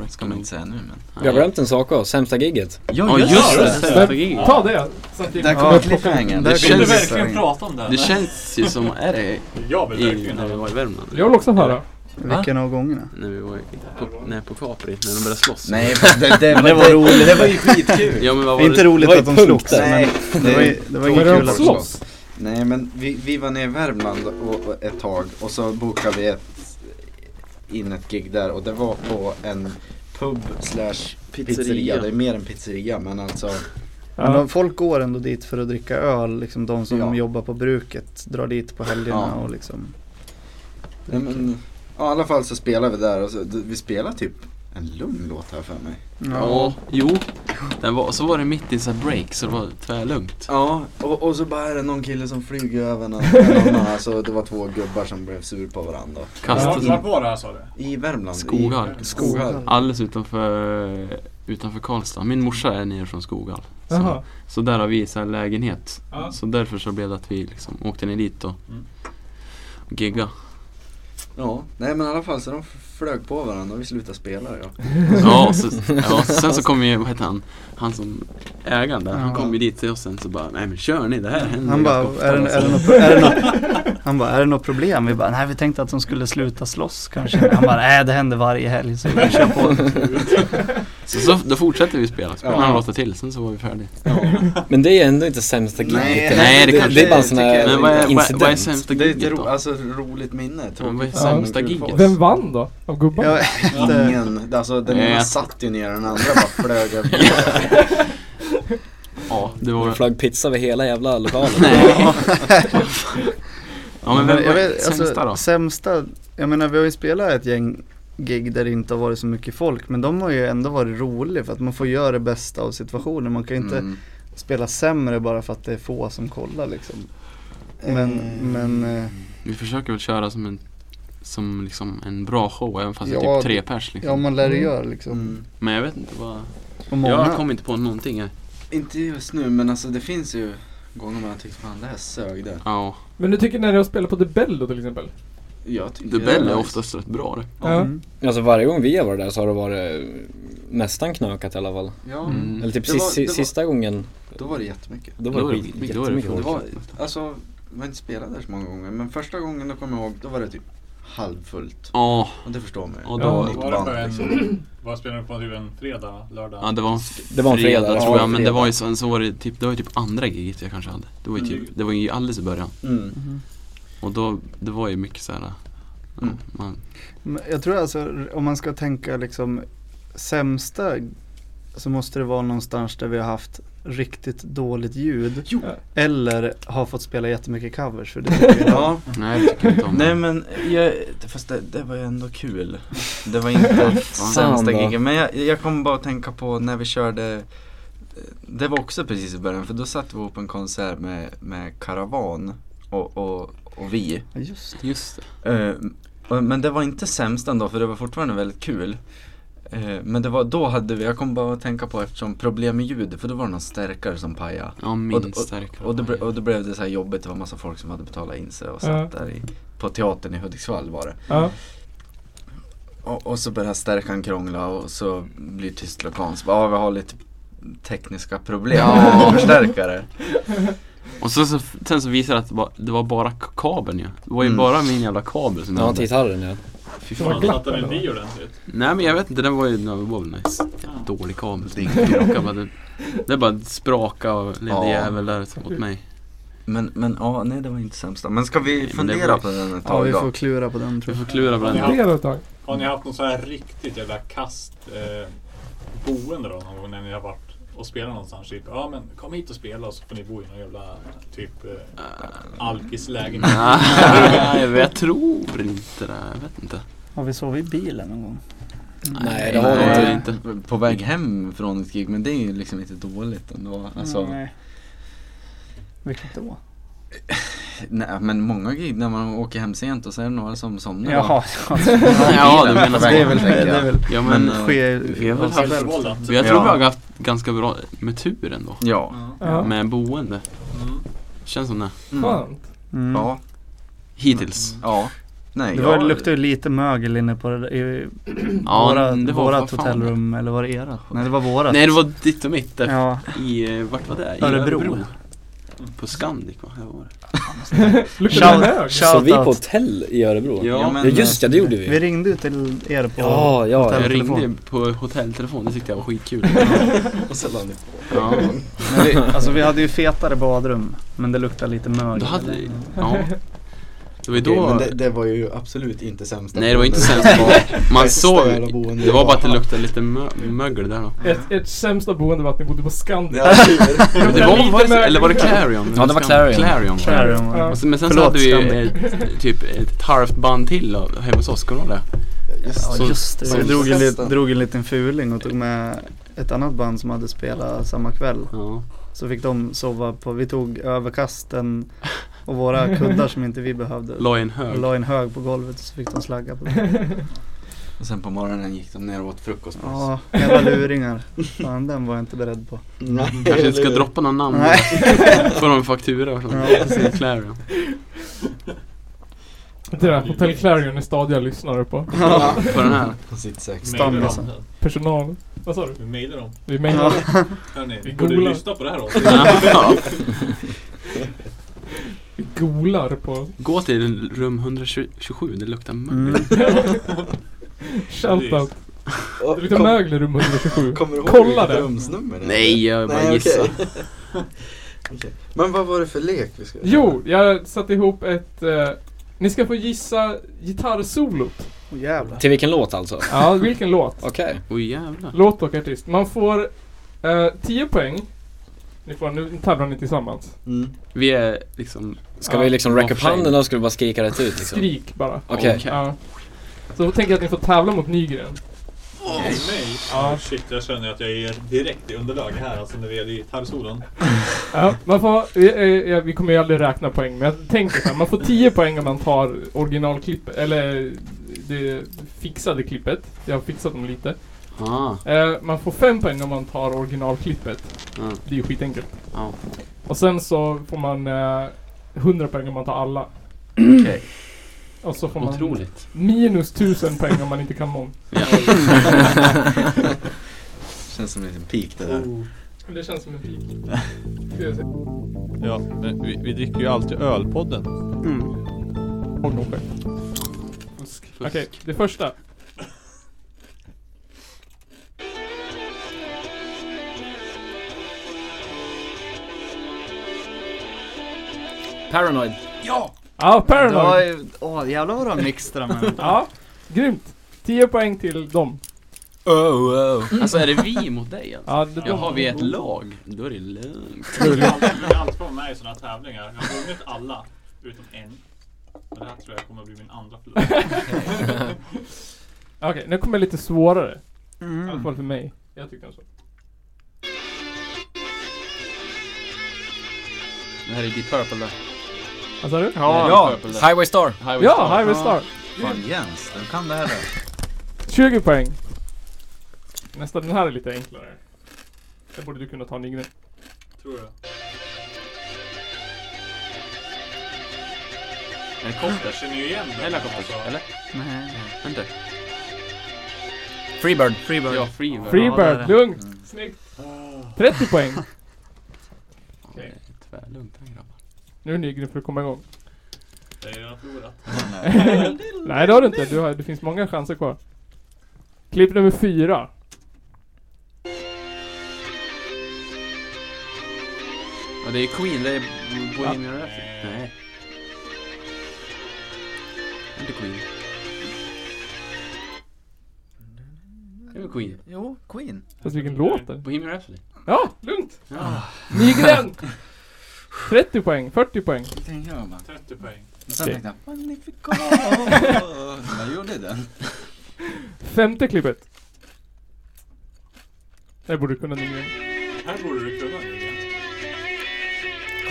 Det Ska man inte säga nu men. Vi har glömt en sak också, sämsta gigget. Ja, just det! Sämsta giget. Ta det! Så att vi- Där Ja, kommer cliffhangern. där Det Vill du kommer känns... verkligen prata om det? Det här? känns ju som, är det Jag vill i, verkligen när vi höra. var i Värmland? Jag vill också höra. Vilken av gångerna? När vi var i, på, nej, på Capri, när de började slåss. Nej, fast det, det, det var roligt. Det var ju skitkul. Ja men vad var Inte det? roligt var ju att de punkt slogs. där. men Det var, ju- det var Börjar inget de kul att slåss? Nej men vi, vi var nere i Värmland och, och ett tag och så bokade vi ett, in ett gig där och det var på en pub slash pizzeria. Pizzeria. Det är mer än pizzeria men alltså. Men Ja. de, folk går ändå dit för att dricka öl, liksom de som Ja. jobbar på bruket drar dit på helgerna Ja. och liksom Nej, men, ja, I alla fall så spelade vi där och så, d- vi spelade typ en lugn låt här för mig. Ja, jo. Den var, och så var det mitt i så här break så det var tvärlugnt. Ja, och, och så bara är det någon kille som flyger över en [LAUGHS] annan. Alltså det var två gubbar som blev sur på varandra. Vart- Kastade Vart var det här sa du? I Värmland. Skoghall. I, Skoghall. Alldeles utanför, utanför Karlstad. Min morsa är nere från Skoghall. Så, Jaha. så där har vi så här lägenhet. Ja. Så därför så blev det att vi liksom åkte ner dit och Mm. gigga. Ja, nej men i alla fall så de f- flög på varandra och vi slutade spela ja. Ja, och så, ja, sen så kom ju, vad heter han, han som ägaren där, han kom ju dit till oss sen så bara, nej men kör ni, det här händer Han ju bara, ofta." alltså." är det, är, det något, är, det något, [LAUGHS] han bara, är det något problem? Vi bara, nej vi tänkte att de skulle sluta slåss kanske. Han bara, nej det händer varje helg så vi kör på. [LAUGHS] Så, så då fortsatte vi spela, spelade Ja. några låtar till, sen så var vi färdiga. Men det är ändå inte sämsta gigget. Nej, eller? nej, det det, kanske är bara en sån tycker jag här Men vad är, vad, incident. vad är sämsta Det är ett giget ro, då? alltså, roligt minne, Men vad är tråkigt sämsta men kul för giget? oss. Vem vann då? Av gubbarna? Jag vet Ingen, alltså den Nej. ena satt ju ner den andra bara [LAUGHS] flög över. Ja, det Det var, flög pizza över hela jävla lokalen. [LAUGHS] ja men vem jag var vet, alltså- sämsta då? Sämsta, jag menar vi har ju spelat ett gäng gig där det inte har varit så mycket folk men de har ju ändå varit roliga för att man får göra det bästa av situationen. Man kan ju inte, Mm. spela sämre bara för att det är få som kollar liksom. Men, Mm. men eh, Vi försöker väl köra som en, som liksom en bra show även fast det Ja, är typ tre pers liksom. ja man lär det Mm. göra liksom. Men jag vet inte vad, Och många, jag kom inte på någonting här. Inte just nu men alltså det finns ju gånger man har tyckt fan det här sög det. Ja, Men du tycker när jag spelar på The Bell då till exempel? Jag tycker The det Bell är nice. oftast rätt bra det. Ja. Mm. Alltså varje gång vi har varit där så har det varit eh, nästan knökat i alla fall. Ja, Mm. Eller typ Det var- sist- det var- sista gången, då var det jättemycket. då var Då var det det skit- skitmycket, då var det jättemycket Det folk. fullt. var, alltså, man har inte spelat där så många gånger men första gången jag kommer ihåg då var det typ halvfullt. Ja, Och det förstår man ju. Ja, Ja, då- då, Var det på en... Vad spelade du på typ en fredag, lördag? ja det var en Det var en fredag, fredag ja, tror jag. en Men det fredag. var ju så, så var det typ, det var ju typ andra giget jag kanske hade. Det var ju typ, Mm. det var ju alldeles i början. mm. [LAUGHS] Och då, det var ju mycket såhär, ja, Mm. man, Men jag tror alltså om man ska tänka liksom sämsta så måste det vara någonstans där vi har haft riktigt dåligt ljud Jo. eller har fått spela jättemycket covers för det [LAUGHS] tycker jag. Ja, nej det tycker jag [LAUGHS] inte om. nej men jag, fast det, det var ju ändå kul. Det var inte [LAUGHS] Fan då. sämsta giget. Men jag, jag kom bara att tänka på när vi körde det var också precis i början för då satte vi ihop en konsert med, med Karavan och, och, och vi. Ja, Just det. Just det. Eh, och- men det var inte sämst ändå för det var fortfarande väldigt kul. Eh, men det var, då hade vi, jag kom bara att tänka på eftersom problem med ljud för då var det någon stärkare som pajade. Ja, Och- min och- starka. Och då, ble- och då blev det så här jobbigt, det var massa folk som hade betalat in sig och satt där i, på teatern i Hudiksvall var det. Ja. Och, och så började stärkan krångla och så blir tyst lokal. Så bara, ah, vi har lite tekniska problem Ja. med förstärkare. Och så, så, sen så visade det att det var, det var bara k- kabeln ju. Det var ju Mm. bara min jävla kabel som jag Ja, typ. till hade. gitarren ja. Fy Det var fan. glatt. Satte den i ordentligt? Nej men jag vet inte, den var ju, den var väl nice. Jävla Ja. Dålig kabel. Ding. Krockade bara, den- Det bara spraka och lille Ja. jävel där som åt mig. Men, men ja, nej det var inte sämst. Men ska vi Nej, men det fundera var- på den ett Ja tag vi får då? klura på den tror Vi jag. får klura på den. Ja. Det är ett tag. Har ni haft något så här riktigt jävla kast eh, boende då någon gång när ni har varit och spelat någonstans? Typ, ja men kom hit och spela och så får ni bo i någon jävla typ eh, alkislägenhet. [LAUGHS] Nej, men jag tror inte det. Jag vet inte. Har vi sovit i bilen någon gång? Nej, det har vi nej, inte. det är inte. På väg hem från ett gig, men det är ju liksom inte dåligt ändå. Alltså, Mm, Nej. Vilket då? Nej men många gig när man åker hem sent och så är det några som somnar. [LAUGHS] [LAUGHS] Ja, du menar så. det är väl, det tänker jag. är väl Ja, men, Men, eh, sker vi har väl av sig haft- själv. Självförvållat. jag tror ja. vi har haft ganska bra med tur ändå. Ja. Ja. Ja. Med boende. Mm. Känns som det. Skönt. Mm. Ja. Hittills. Ja. Nej. Det, var, jag- det luktade ju lite mögel inne på det där, i Ja, våra, det var vårat fan- hotellrum, eller var det era? Nej det var vårat. Nej, det var ditt och mitt där Ja, i, eh, vart var det? I Örebro. På Scandic va? Här var det. Luktar Shout- det hög? shout- Så vi på out. hotell i Örebro? Ja, eh, Ja, Ja men, just ja, det gjorde vi. vi ringde ju till er på Ja, ja, Jag hotelltelefon. ringde på hotelltelefon, det tyckte jag var skitkul. Och så lade ni Ja, Men vi, alltså vi hade ju fetare badrum, men det luktade lite mögel. då hade vi, ja. Det var ju Okej, då, men det, det var ju absolut inte sämsta nej det var inte boende. sämst [LAUGHS] man, man såg, Städa boende. det var bara att det luktade lite mö- mögel där då. Ett, ett sämsta boende var att ni bodde på Scandic. Ja, tur. [LAUGHS] Men Det var, var det, eller var det Clarion? Ja, det var Clarion. Clarion. Clarion. Ja. Och sen- Men sen Förlåt, så hade vi ju Scandic. ett, typ ett halvt band till då, hemma hos oss, kommer du ihåg det? Just Ja det. just det, som vi drog, en li- festen. drog en liten fuling och tog med ett annat band som hade spelat samma kväll. Ja. Så fick de sova på, vi tog överkasten och [LAUGHS] våra kuddar som inte vi behövde. La i en Och hög. la en hög på golvet och så fick de slagga på det. Och sen på morgonen gick de ner och åt frukost med oss. Ja, jävla luringar. Fan den var jag inte beredd på. Nej, Kanske inte ska eller- droppa någon namn. Nej. [LAUGHS] Får de en faktura och sånt. Ja, precis. Clarion. Det där, Hotel Clarion är stadiga lyssnare på. Ja. [LAUGHS] På den [LAUGHS] här. På sitt sex. Mejlar Stammisen. liksom. dem. Personal. Vad sa du? Vi mejlar dem. Vi mejlar. Vi Hörni, borde googlar. lyssna på det [LAUGHS] här avsnittet. Ja. Vi golar på. Gå till rum 127, det luktar mögel. Mm. Shoutout. Och Det luktar kom- mögel i rum 127. Kommer du ihåg Kolla vilket det. rumsnummer det är? Nej, jag bara Nej, gissar. okej. Okej. Men vad var det för lek vi [LAUGHS] skulle Jo, jag satte ihop ett... Eh, ni ska få gissa gitarrsolot. Åh jävlar. Till vilken låt alltså? Ja, vilken låt? Okej. Oj jävlar. Låt och artist. Man får eh, 10 poäng. Ni får, nu tävlar ni tillsammans. Mm. Vi är liksom... Ska Ja, vi liksom räcka upp varför? handen och ska du bara skrika rätt ut liksom? Skrik bara. Okej. Okej. Ja. Så då tänker jag att ni får tävla mot Nygren. Nej, nej. Shit, jag känner att jag är direkt i underlag här alltså när vi är i gitarrsolon. Ja, man får, eh, eh, vi kommer ju aldrig räkna poäng, men jag tänker så här, man får 10 poäng om man tar originalklippet, eller det fixade klippet. Jag har fixat dem lite. Ah, Eh, man får 5 poäng om man tar originalklippet. mm, Det är ju skitenkelt. ja. Och sen så får man eh, 100 poäng om man tar alla. Okej. Och så får man Otroligt. minus 1000 poäng om man inte kan någon. Ja. Känns som en liten peak det där. Det känns som en pik. [LAUGHS] Ja, men vi, vi dricker ju alltid ölpodden. Mm. Håll nog själv. Okej, det första. Paranoid. Ja, Paranoid. Ja, åh, jävlar vad du har [LAUGHS] mixtrat med. Ja, grymt. 10 poäng till dem. Alltså är det vi mot dig alltså? Ja, det Jaha, vi är ett lag. Då är det lugnt. Jag har alltid- jag har alltid varit med i sådana här tävlingar. Jag har vunnit alla utom en. Och det här tror jag kommer att bli min andra förlust. Okej, nu kommer lite svårare. I alla Mm. fall för mig. Jag tyckte den så. Det här är Deep Purple då. Vad sa du? Ja, Ja. Deep Purple. Highway Star. Highway Ja, Star. Highway Star. Fan Jens, du kan det här då. 20 poäng. Nästa, den här är lite enklare. Det borde du kunna ta Nygren. Tror jag. Är det Jag Copters? känner ju igen Alltså, den. Helicopters, eller? Nej. Vänta. Freebird. Freebird. Ja, Freebird. Freebird, det är det. lugnt. Mm. Snyggt. Ah. 30 poäng. Ja, det är Tvärlugnt här grabbar. Nu är Nygren för att komma igång. Jag har redan förlorat. Nej, det har du inte. Du har, det finns många chanser kvar. Klipp nummer fyra. Ja, det är Queen. Det är Bohemian Rhapsody. Nej. Det är Inte Queen. Det är väl Queen? Jo, Queen. Fast vilken låt det är. Bohemian Rhapsody? Ja, lugnt. Ja. Nygren! 30 poäng, 40 poäng. Det tänkte jag bara. 30 poäng. Men sen Det- tänkte jag, magnifico. [LAUGHS] Jag gjorde den. Femte klippet. Det borde kunna Nygren. Här borde du kunna Jörgen.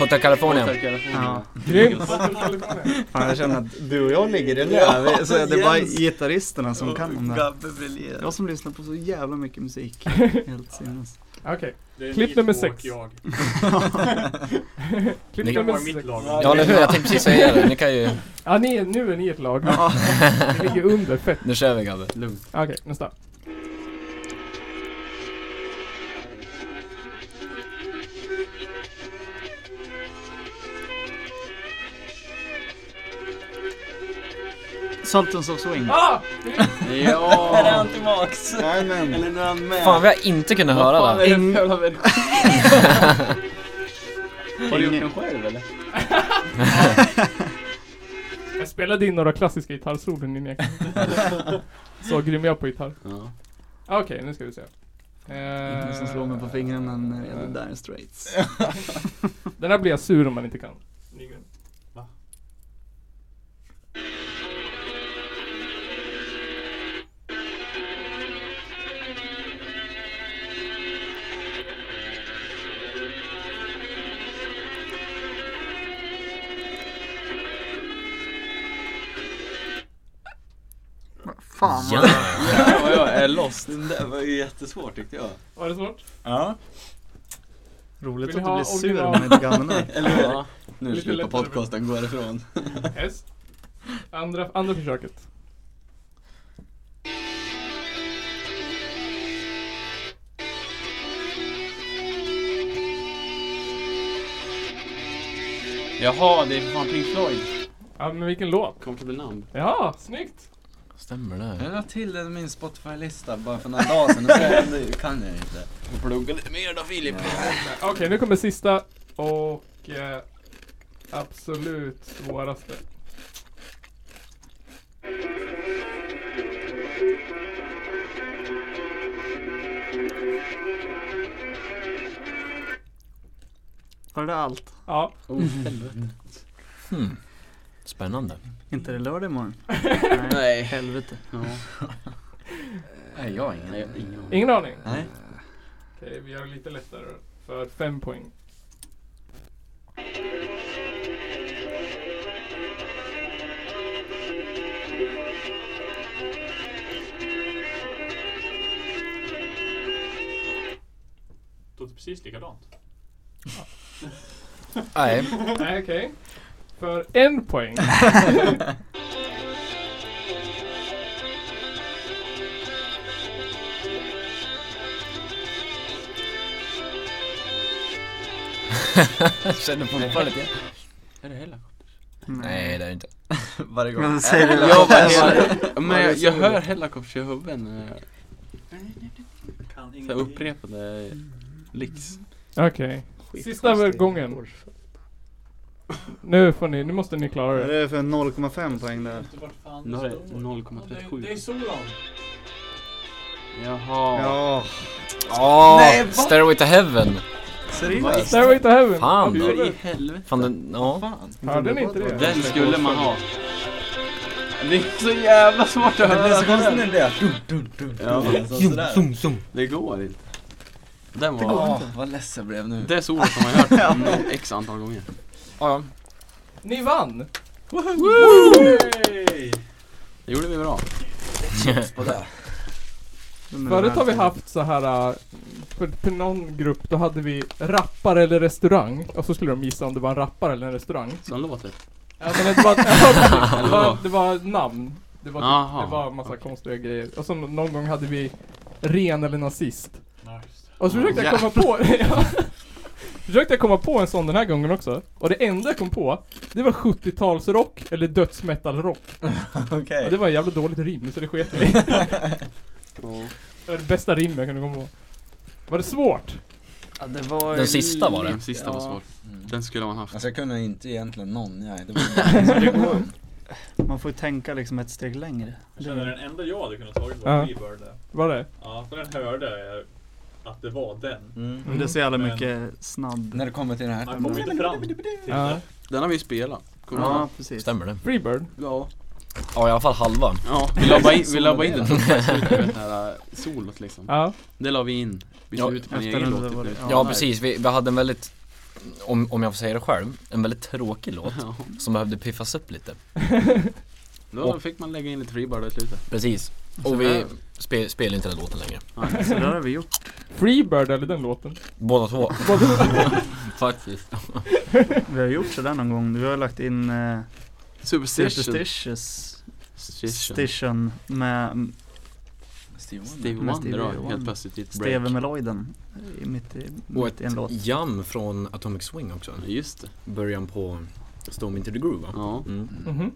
Hotel California. Ja. Grymt! Fan, jag känner att du och jag ligger i lä. Så det är bara gitarristerna som kan om det här. Gabbe briljerar. Jag som lyssnar på så jävla mycket musik. Helt sinnes. Okej, Det är Klipp ni nummer två sex. och Jag. klipp Det Det kan nummer var mitt sex. lag. Ja eller hur, jag tänkte precis säga det. Ni kan ju... Ja, ni, är- nu är ni ett lag. [LAUGHS] Ni ligger under, fett. Nu kör vi Gabbe. Lugnt. Okej, nästa. Sultans of Swing. Ah! Ja! Jajamän. Eller nu är han med. Fan vi har inte kunnat Vad höra fan det. är det för jävla [LAUGHS] version? Har du gjort den själv eller? Jag spelade in några klassiska gitarrsolon [LAUGHS] innan jag Så grym jag är på gitarr. Ja. Okej, nu ska vi se. Eh, Ingen som slår mig på fingrarna när det gäller Dire Straits. Den här blir jag sur om man inte kan. Nygren. Fan. Ja. Ja, jag är lost. Den där var ju jättesvår tyckte jag. Var det svårt? Ja. Roligt Vill att ni du ha blir sur om original? man inte kan den här. Eller hur? Ja. Nu Lite slutar lättare. podcasten, gå ifrån. Yes. Andra, andra försöket. Jaha, det är för fan Pink Floyd. Ja, men vilken låt? Comfortable Numb. Ja, snyggt! Stämmer det? Jag la till den i min Spotify-lista bara för några dagar sedan och sen nu kan jag inte. Får plugga lite mer då Filip. Okej, nu kommer sista och eh, absolut svåraste. Var det allt? Ja, Oh, helvete. Hmm. Spännande. Inte det lördag imorgon? Nej. Nej. Helvete. Ja. [LAUGHS] Nej, jag har ingen. Nej, jag har ingen aning. Ingen aning? Nej. Okej, vi gör det lite lättare då. För fem poäng. Det låter precis likadant. Nej. Nej, okej. För en poäng. Jag känner fortfarande inte. Är det heller? Nej, det är det inte. Varje gång. Äh, Men säg det Jag, där. men jag, jag hör Hellacopters i huvudet. när jag- Kan Så eh, här upprepade licks. Okej. Sista gången. Nu får ni, nu måste ni klara Vad det. är det för 0,5 poäng där? Nu har jag Det är 0,37. Solon. Jaha. Ja, Åh, Stairway to Heaven. Seriöst? Stairway to heaven. Fan. Hur i Absolut. helvete? Fan den, ja. Fan. Hörde ni inte det? Den skulle man ha. Det är så jävla svårt att höra. Det är så konstigt när det är dun, dun, dun, Ja. dun, sådär. Det går inte. Den Det var... går inte. Vad ledsen jag blev nu. Det ordet har man [LAUGHS] hört nå- x antal gånger. Ja, Ni vann! Det gjorde vi bra. Förut har vi haft så här äh, för, för någon grupp då hade vi rappare eller restaurang och så skulle de gissa om det var en rappare eller en restaurang. Som låter. Ja, men det, var, det, var, det var namn. Det var, Jaha, det var en massa konstiga grejer. Och så någon gång hade vi ren eller nazist. Nice. Och så försökte jag komma på... [LAUGHS] ja. Försökte jag komma på en sån den här gången också. Och det enda jag kom på, det var 70-talsrock eller dödsmetallrock. Okej. Och det var ett jävla dåligt rim så det sket jag i. Det var det bästa rim jag kunde komma på. Var det svårt? Ja, det var Den sista var det. Den sista var svår. Den skulle man haft. Alltså jag kunde inte egentligen någon, nej. [LAUGHS] Det var Det går. Man får ju tänka liksom ett steg längre. Jag känner den enda jag hade kunnat tagit Mm. Ja. var Freebird. där. Var det? Ja, för den hörde jag att det var den. mm. Men det är så jävla Men- mycket snabb... När det kommer till den här. Man kom inte fram till Ja. Mm. det. Den har vi ju spelat. Kommer du ihåg? Ja, precis. Stämmer det? Freebird? Ja. Ja, i alla fall halva. Ja, vi la bara in, vi la bara in den [LAUGHS] tuffa slutet, det här äh, solot liksom. Ja. Det la vi in. Vi Ja, slutade på en efter egen den låt. där var det- typ. ja. Ja, precis. Vi, vi hade en väldigt, om, om jag får säga det själv, en väldigt tråkig låt Ja. som behövde piffas upp lite. Då fick man lägga in lite freebird i slutet. Precis. Och vi spe, spelar inte den låten längre. Så där har vi gjort. Freebird eller den låten? Båda två. [LAUGHS] Faktiskt. Vi har gjort sådär någon gång. Vi har lagt in eh, Superstition. Superstitious Superstition. Station med Steve Steve Men Wonder Stevie då, helt Wonder. plötsligt i ett Steve break. Meloiden. i- Mitt i, Och mitt ett i en låt. jam från Atomic Swing också. Ja, Just det. Början på Storm Into the Groove va? Ja. Mm. Mhm.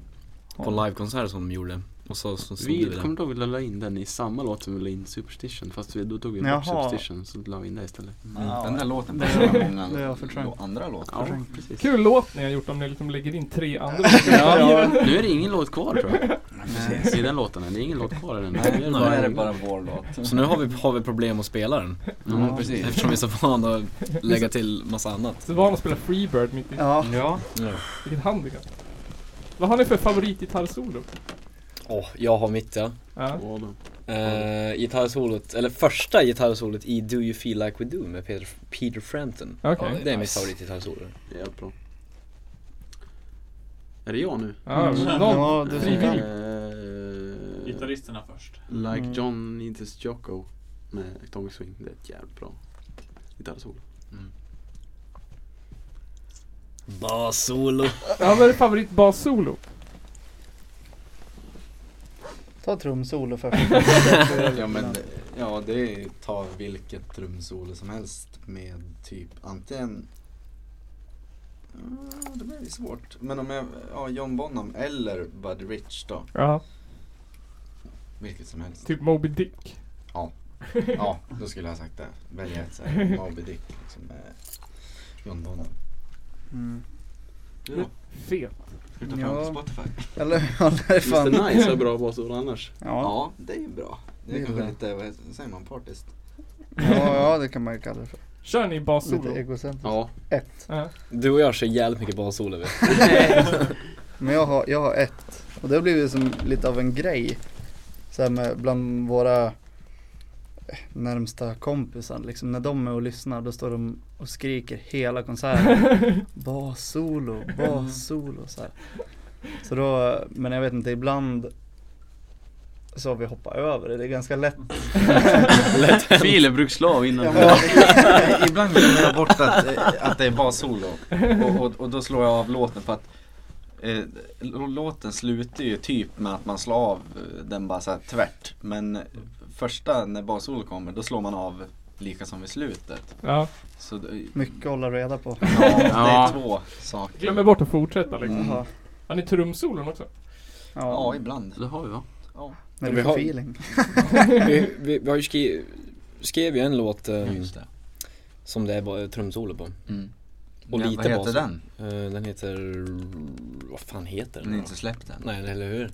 På en livekonsert som de gjorde. Och så, så, så Vi vi kommer du ihåg att vi la in den i samma låt som vi la in Superstition? Fast vi, då tog vi Jaha. bort Superstition så la vi in det istället. Mm. Den där låten Det- passar många det har jag förträngt. andra låtar. Ja, Förträngt. precis. Kul låt ni har gjort om ni liksom lägger in tre andra Ja. Nu är det ingen låt kvar tror jag. Precis. I den låten än. Det är ingen låt kvar i den. Nej, nu är det bara Mm. vår låt. Så nu har vi, har vi problem att spela den. Ja, precis. Eftersom vi är så vana att lägga till massa annat. Så var att spela Freebird mitt i. Ja. Ja. Vilket handikapp. Vad har ni för favoritgitarrsolo? Åh, jag har mitt ja. Ja. Ja, då. Uh, gitarrsolot, eller första gitarrsolot i Do You Feel Like We Do med Peter, Peter Frampton. Okej. Ja, det är mitt Nice. favoritgitarrsolo. Det är bra. Är det jag nu? Ja, Mm. någon. Ja, du frivilligt. som Eh, Gitarristerna först. Like Mm. John Needs Jocko med Atomic Swing. Det är ett jävligt bra gitarrsolo. Bassolo. Ja, vad är favoritbassolo? Ta trumsolo först. [LAUGHS] [LAUGHS] Ja, men, ja, det är ta vilket trumsolo som helst med typ antingen... Ja, det blir svårt. Men om jag, ja, John Bonham eller Bud Rich då. Ja. Vilket som helst. Typ Moby Dick. Ja, då skulle jag ha sagt det. Välja ett [LAUGHS] såhär Moby Dick liksom med John Bonham. Mm. Fet. Flytta fram Ja. på Spotify. Eller, [LAUGHS] ja, det är fan. Mr Nice har bra basord annars. Ja. Ja, det är ju bra. Det Det är är kanske bra. lite, vad heter- vad säger man, partiskt? Ja, ja, det kan man ju kalla det för. Kör ni Lite bassolo? egocentriskt. Ja. Ett. Ja. Du och jag kör jävligt mycket bassolo vi. Men jag har, jag har ett. Och det har blivit som lite av en grej. Så här med bland våra eh, närmsta kompisar liksom, när de är och lyssnar då står de och skriker hela konserten [LAUGHS] Bassolo, bassolo så här. Så då, men jag vet inte, ibland så har vi hoppat över det, det är ganska lätt Filip brukslav innan. Ja, [LAUGHS] men, ibland glömmer jag bort att, eh, att det är bara solo och, och, och då slår jag av låten för att eh, l- låten slutar ju typ med att man slår av eh, den bara så här tvärt men första när bara solo kommer då slår man av lika som vid slutet Ja. så det, mycket att hålla reda på. ja, det Ja. är två saker Glömmer bort att fortsätta liksom. Mm. Jaha. Har ni trumsolon också? Ja, Ja, ibland Det har vi va? ja. när Vi du har- får feeling. vi, vi, vi har ju skri, skrev ju en låt eh, Just det. som det är bara trumsolo på. Mm. Och ja, lite vad heter basen. den? Eh, den heter, vad fan heter Den är den? inte släppt än Nej, eller hur?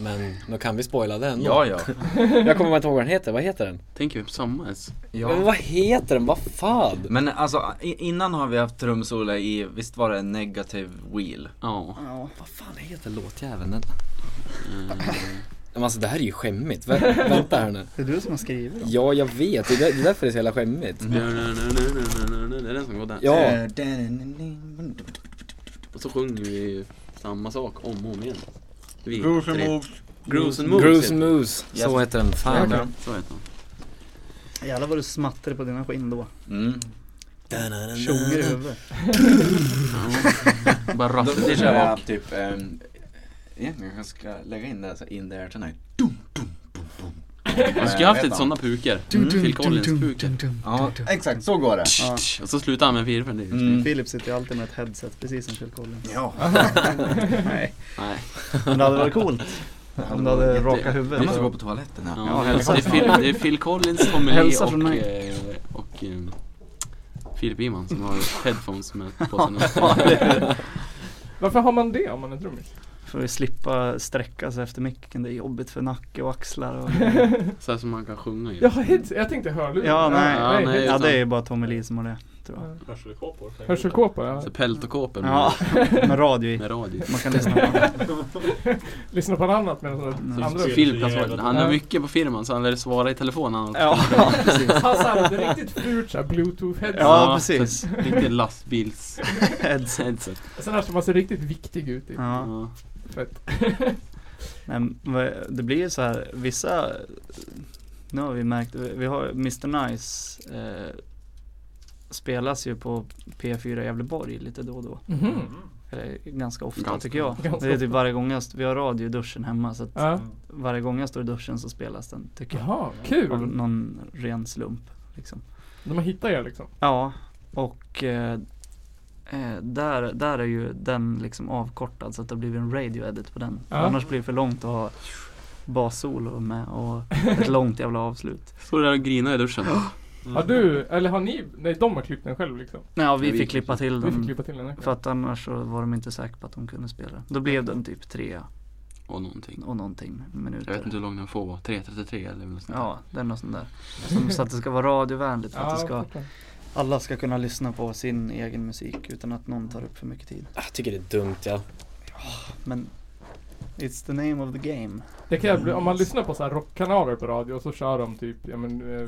Men då kan vi spoila den då. Ja, ja. Jag kommer bara inte ihåg vad den heter, vad heter den? Tänker vi på samma ens? Men ja. vad heter den, vad fan? Men alltså i- innan har vi haft trumsolo i, visst var det negative wheel? Ja. Ja. Vad fan heter låtjäveln? Den... Men Mm. alltså det här är ju skämmigt, Vä- vänta här nu. Det är du som har skrivit dem. Ja, jag vet, det är där- det är därför det är så jävla skämmigt. Mm. Mm-hmm. Det är den som går där. Ja, Eh, Och så sjunger vi ju samma sak om och om igen. Vi Groove tre. moves. Grooves and moves. Grooves heter den. Moose, så heter den. Fan. Ja, Så heter den. Jävlar vad du smattrade på dina skinn då. Mm. Tjonger i huvudet. Ja. Bara Då, rasslar då till kör bak. jag typ, ehm, egentligen kanske ska lägga in det här, så in there tonight. Man skulle haft lite sådana puker. Mm. Phil Collins puker. Ja, exakt så går det. Ja. Och så slutar han med virveln. Det är ju Mm. snyggt. Philip sitter ju alltid med ett headset, precis som Phil Collins. Ja. Nej, Nej. men det hade varit coolt om du hade raka Jag huvudet. måste gå på toaletten här. Ja, det, hälsa är Phil, det är Phil Collins, Tommy Lee Hälsa från och, mig. eh, och eh, Filip Iman som har headphones med på [LAUGHS] sina Varför har man det om man är trummis? För att slippa sträcka sig efter micken, det är jobbigt för nacke och axlar. [LAUGHS] Och... Så här som man kan sjunga i. Jag, har heads- jag tänkte hörlurar. Ja, nej. Ja, nej. heads- Ja det är ju bara Tommy Lee som har det, tror jag. Hörselkåpor. säkert. Hörselkåpa, ja. Så Typ. pält och kåpor med, Ja, med radio i. med radio. Man kan lyssna på det. Lyssna på något annat medan den [LAUGHS] Så- andra så- Filip kan svara. Han Ja. har mycket på firman så han lär svara i telefon annars. [LAUGHS] Ja, precis. Han sa det är riktigt fult såhär bluetooth headset. Ja, Ja, precis. Lite [LAUGHS] lastbils Heads. headset. Sen alltså man ser riktigt viktig ut. Typ. Ja. Ja. Fett. Nej, men vad- det blir ju så här, vissa, nu har vi märkt, vi vi har Mr Nice eh, spelas ju på P4 Gävleborg lite då och då. Mhm. Mm. Eller ganska ofta Ganska. tycker jag. Ganska det är typ ofta. varje gång jag, st- vi har radio i duschen hemma så att Ja. varje gång jag står i duschen så spelas den tycker jag. Jaha, Av kul. någon ren slump liksom. De har hittat er liksom. Ja, och eh, eh, där, där är ju den liksom avkortad så att det har blivit en radio edit på den. Ja. Annars blir det för långt att ha bassolo med och ett långt jävla avslut. Står där och grinar i duschen. Har du, eller har ni, nej de har klippt den själv liksom. Nej, ja, vi Ja, vi fick klippa till Vi fick den. klippa till den. Mm. För att annars så var de inte säkra på att de kunde spela. Då blev den typ tre Och någonting. och någonting minuter. Jag vet inte hur lång den får vara. 3.33 eller något sånt där. Ja, det är något sånt där. Som, så att det ska vara radiovänligt för att det ska Alla ska kunna lyssna på sin egen musik utan att någon tar upp för mycket tid. Ah, Jag tycker det är dumt ja. Men It's the name of the game. Det kan jag bli, om man lyssnar på så här rockkanaler på radio och så kör de typ, ja men eh,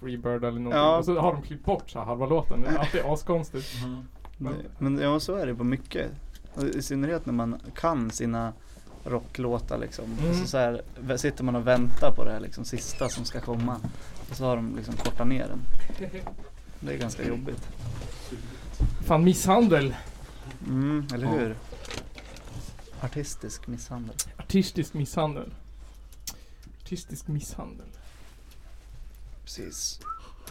Freebird eller någonting. Ja. Och så har de klippt bort så här halva låten. Det är [LAUGHS] alltid askonstigt. Det- Men ja, så är det på mycket. Och I synnerhet när man kan sina rocklåtar liksom. Mm. Alltså så här, vä- sitter man och väntar på det här liksom, sista som ska komma. Och så har de liksom kortat ner den. Det är ganska jobbigt. Fan misshandel. Mm, eller Ja. hur? Artistisk misshandel. Artistisk misshandel. Artistisk misshandel. Precis.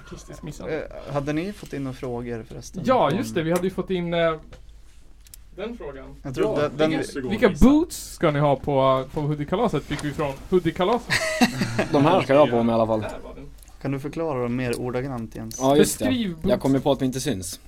Artistisk misshandel. Eh, hade ni fått in några frågor förresten? Ja, Om- just det. Vi hade ju fått in eh, den frågan. Jag tror Ja, den, den, det måste gå att Vilka visa. boots ska ni ha på, på hoodiekalaset? Fick vi från hoodiekalaset. De här ska jag ha på mig i alla fall. Där var den. Kan du förklara dem mer ordagrant Jens? Ja just det. Beskriv boots. Jag kommer på att vi inte syns.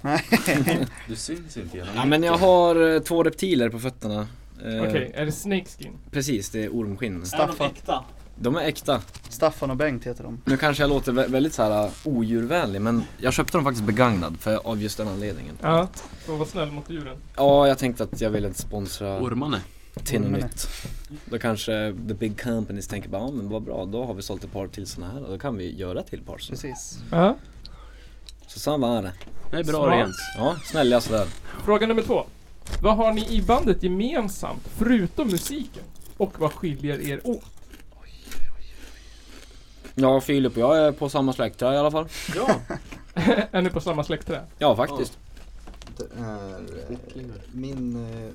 Du syns inte genom Ja men jag har eh, två reptiler på fötterna. Eh, Okej, är det snakeskin? Precis, det är ormskinn. Är [LAUGHS] de Staffan. äkta? De är äkta. Staffan och Bengt heter de. Nu kanske jag låter vä- väldigt så här eh, odjurvänlig men jag köpte dem faktiskt begagnad för, av just den anledningen. Ja, för att vara snäll mot djuren. Ja, jag tänkte att jag ville inte sponsra Ormarna. till något Men- nytt. Då kanske the big companies tänker bara, ja men vad bra, då har vi sålt ett par till sådana här och då kan vi göra till par sådana. Precis. Ja. Så så var det. Det är Smart. bra Jens. Ja, snälla sådär. Fråga nummer två. Vad har ni i bandet gemensamt, förutom musiken? Och vad skiljer er åt? Ja, Filip och jag är på samma släktträd i alla fall. Ja. är ni på samma släktträd? Ja, faktiskt. Det är eh, min... eh, eh,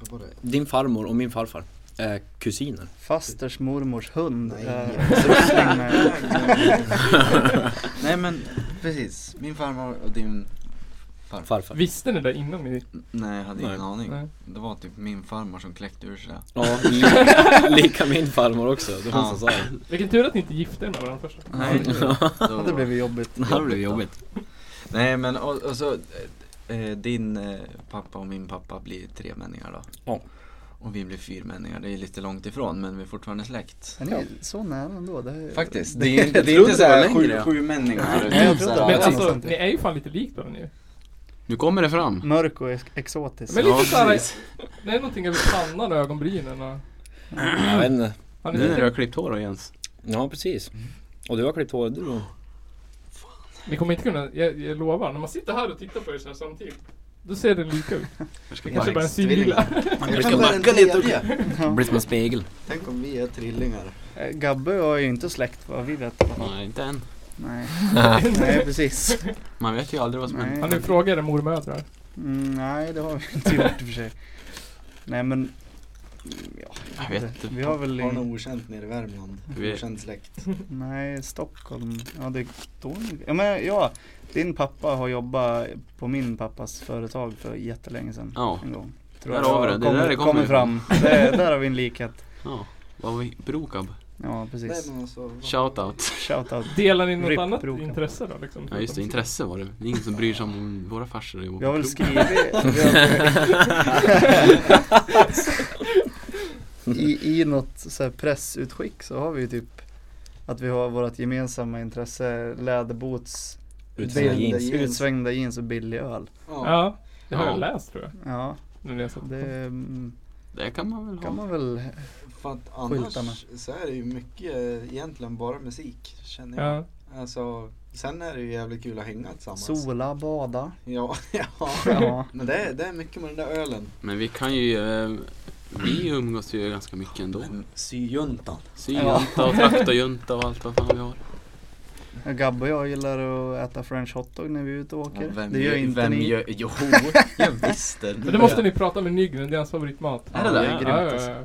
Vad [LAUGHS] var det? Din farmor och min farfar är kusiner. Fasters mormors hund eh, Nej. är släkting med Nej men precis, min farmor och din farfar. Farfar. Visste ni det innan ni... Nej jag hade ingen Nej. aning. Nej. Det var typ min farmor som kläckte ur sig det. [LAUGHS] Ja, li- lika min farmor också. Det var hon som sa det. Vilken tur att ni inte gifte er med varandra först. Nej, [LAUGHS] Ja, det blev ju jobbigt. Det här blev jobbigt. Nej men och, och så eh, eh, din eh, pappa och min pappa blir tre männingar då. Ja. Och vi blir fyrmänningar. Det är lite långt ifrån men vi är fortfarande släkt. Men det är så nära ändå. Det är, Faktiskt. Det är, Jag det är trodde inte det såhär var längre, sju, ja. sju männingar. Nej, jag trodde det var Men Ja, alltså, sant. ni är ju fan lite likt varandra nu. Nu kommer det fram. Mörk och ex- exotisk. Men lite såhär, precis. det är någonting över pannan och ögonbrynen och... Jag vet inte. Har ni Nu när du lite... har klippt hår då Jens. Ja, precis. Och du har klippt håret du då? Ni kommer inte kunna, jag, jag lovar, när man sitter här och tittar på er så här samtidigt. Då ser det lika ut. Jag ska Det kanske bara är bara... en [LAUGHS] synvilla. Jag ska kan vara den backa lite och- tredje. Det blir som en spegel. Tänk om vi är trillingar. Eh, Gabbe och jag är ju inte släkt vad vi vet. Nej, inte än. Nej, [LAUGHS] nej precis. Man vet ju aldrig vad som händer. Har ni Nej. frågat era mormödrar? Mm, nej, det har vi inte gjort i och för sig. Nej men, mm, ja, Jag vet inte. vi har väl Har i, något okänt nere i Värmland. Vi- Okänd släkt. nej Stockholm, ja det står nog- ja, men ja, din pappa har jobbat på min pappas företag för jättelänge sedan. Ja. En gång. Där jag har vi det. Det är kommer- där det kommer kommer fram. Det, [LAUGHS] där har vi en likhet. Ja. Vad var vi? Brokab. Ja precis. Nej, men alltså, vad- Shoutout. Shoutout. Delar ni något Ripp, annat broken. intresse då liksom? Ja just det, intresse var det. Det är ingen som bryr sig om våra farsor. Vi har väl skrivit [LAUGHS] vi har, i, I något så här pressutskick så har vi ju typ Att vi har vårt gemensamma intresse läderboots Utsvängda bild- jeans. Utsvängda jeans och billig öl Ja. Ja, det har jag Ja. läst tror jag. Ja När ni har satt det på. mm, Det kan man väl kan ha. man väl För att Skyltar annars så är det ju mycket eh, egentligen bara musik känner jag. Ja. Alltså, sen är det ju jävligt kul att hänga tillsammans. sola, bada [LAUGHS] Ja, ja. Ja Men det är, det är mycket med den där ölen. Men vi kan ju... eh, Vi umgås ju ganska mycket ändå. Syjuntan. Syjunta och traktorjunta och allt vad fan vi har. Gabbe och jag gillar att äta french hotdog när vi är ute och åker Vem Det gör inte vem ni Gör, [LAUGHS] jo, jag visste Men det måste ni prata med Nygren, det är hans favoritmat. Är det där? det är grymt alltså. ja, Och,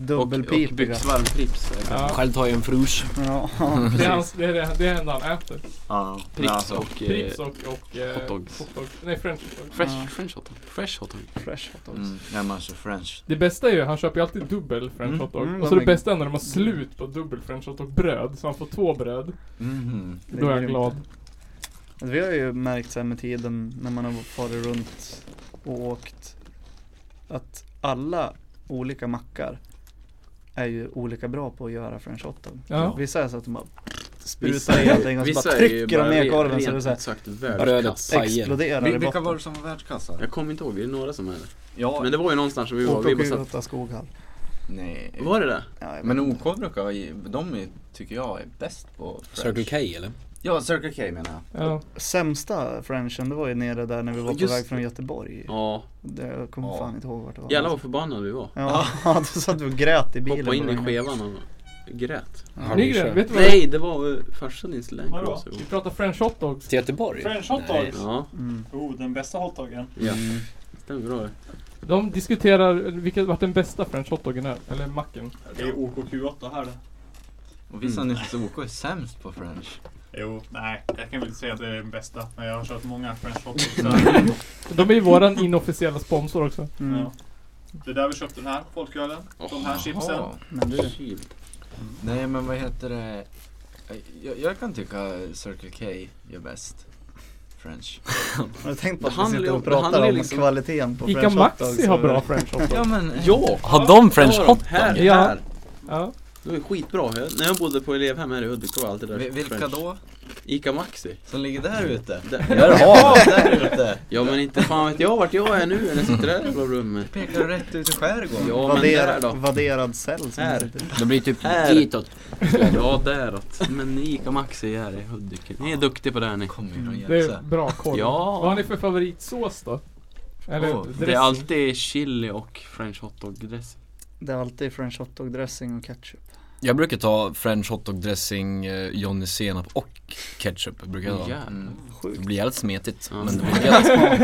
och Dubbelpipiga byxvarm trips. eh, ja. Själv tar jag en frush. Ja [LAUGHS] Det är, hans, det, är det, det är det enda han äter. Ja, men Prips alltså, och... eh, Prips och, och eh, hot dogs. hotdog. Nej, french hotdog. Ja. Fresh, French hot dog. Fresh hot dog. fresh hotdogs mm, nej men alltså french. Det bästa är ju, han köper ju alltid dubbel french Mm, hotdog. mm, och så de det är- bästa är när de har slut på dubbel french hotdog bröd. Så han får två bröd. Mhm. Det Då är jag grymt. glad. Alltså, vi har ju märkt så här med tiden när man har farit runt och åkt att alla olika mackar är ju olika bra på att göra french hotdog. Ja. Vissa är så att de bara sprutar i allting och så alltså bara är ju trycker de ner re- korven så rent det så här ut sagt Brödet världskass. pajer. exploderar Vi, i vilka var botten. det som var världskassa? Jag kommer inte ihåg, det är några som är det. Ja, Men det var ju någonstans som vi var, Och vi på bara satt, Kugata Skoghall. nej. var det det? Ja, jag Men vet inte. OK brukar, ha i- de är, tycker jag är bäst på french. Circle K eller? Ja, Circle K menar jag. Ja. Sämsta frenchen det var ju nere där när vi var på Just väg det. från Göteborg. Ja, Det, jag kommer Ja. fan inte ihåg vart det var. jävlar vad förbannade vi var. Ja, [LAUGHS] då satt vi och grät i bilen. Mm. Hoppade in på i vägen. skevan och grät. Nygren, vet du vad? Nej, det var eh, farsan i Vadå? Slank Vi pratar french hotdogs. Till Göteborg? French hotdogs. Ja, Mm. Oh, den bästa hotdogen. ja. Mm. Stämmer bra det. De diskuterar vilket vart den bästa french hotdogen är. Eller macken. Det är OKQ8 här. Och visst har ni att OK är sämst på french? Jo, nej. Jag kan väl inte säga att det är den bästa. Men jag har kört många french hotdogs. Mm. här. De är ju våran inofficiella sponsor också. Mm. Ja. Det är där vi köpte den här folkölen. De här chipsen. Ja. Men du, Kylt. Nej men vad heter det? Jag, jag kan tycka Circle K gör bäst. French. Har du tänkt på att Det vi sitter handlar ju och om- det handlar pratar ju om liksom- kvaliteten på Ica french hotdogs Maxi har över- bra french hotdog. men... Ja! Har de det har de. Här, Ja. här. Ja. Det var ju skitbra. Jag, när jag bodde på elevhem här i Hudik, då var jag alltid där. Vil- Vilka French. då? Ica Maxi. Som ligger där ute? Där. Där har vi, där ute! Ja men inte fan vet jag vart jag är nu när jag sitter där i det jävla rummet. Pekar du rätt ut i skärgården? Ja men där Vadderad, då. vadderad cell som Här. sitter. Det blir typ Här. ditåt. Ja däråt. Men Ica Maxi är i Hudik. Ni är duktiga på det här ni. Kommer ju från Det är Gävle. bra koll. Ja. Vad har ni för favoritsås då? Eller Åh, det Det dressing? är [LAUGHS] alltid chili och french hotdog dressing. Det är alltid french hotdog dressing och ketchup. Jag brukar ta french hotdog dressing, eh, Johnny senap och ketchup brukar jag ta. Jävlar. Mm. Det blir jävligt smetigt. Ja. Men det blir gött.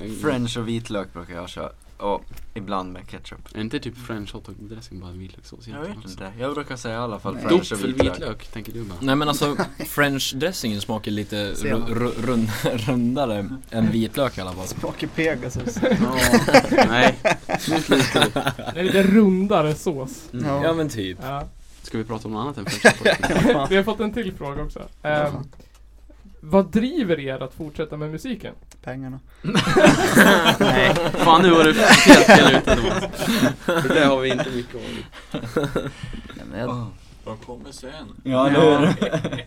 Mm. French och vitlök brukar jag köra. Och ibland med ketchup. Är inte typ french hotdog dressing bara en vitlökssås Jag vet egentligen? inte. Jag brukar säga i alla fall french och Doppel vitlök. vitlök tänker du bara. Nej men alltså french dressingen smakar lite ru- Senap. ru- rund, [LAUGHS] rundare än vitlök i alla fall. Smakar Pegasus. [LAUGHS] Ja, nej. Nu slutar vi. Det är lite rundare sås. Mm. Ja. Ja men typ. Ja. Ska vi prata om något annat än french [LAUGHS] hotdog? Vi har fått en till fråga också. Ehm, vad driver er att fortsätta med musiken? Pengarna. Nej, fan nu var du helt fel ute Thomas. Det där har vi inte mycket om. jag Oh. De kommer sen. Ja, eller [LAUGHS] hur?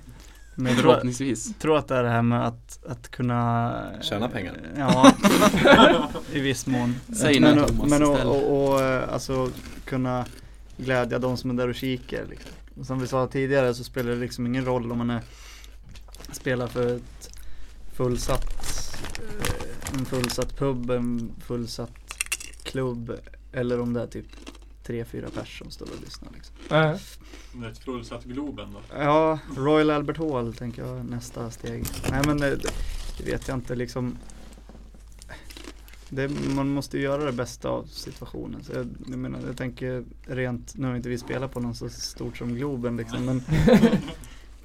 men jag tror, Förhoppningsvis. tror att det är det här med att, att kunna eh, Tjäna pengar. [LAUGHS] Ja, i viss mån. Säg men nu, och- Thomas, Men och, istället. och, och eh, alltså kunna glädja de som är där och kikar. Liksom. Och Som vi sa tidigare så spelar det liksom ingen roll om man är, spelar för ett fullsatt, eh, en fullsatt pub, en fullsatt klubb eller om det är typ tre, fyra pers som står och lyssnar. Liksom. Eh, Det är ett fullsatt Globen då. Ja, Royal Albert Hall tänker jag är nästa steg. Nej men eh, det, det vet jag inte liksom. Det, man måste ju göra det bästa av situationen. Så jag, jag menar, jag tänker rent, nu har inte vi spelat på någon så stort som Globen liksom. Men,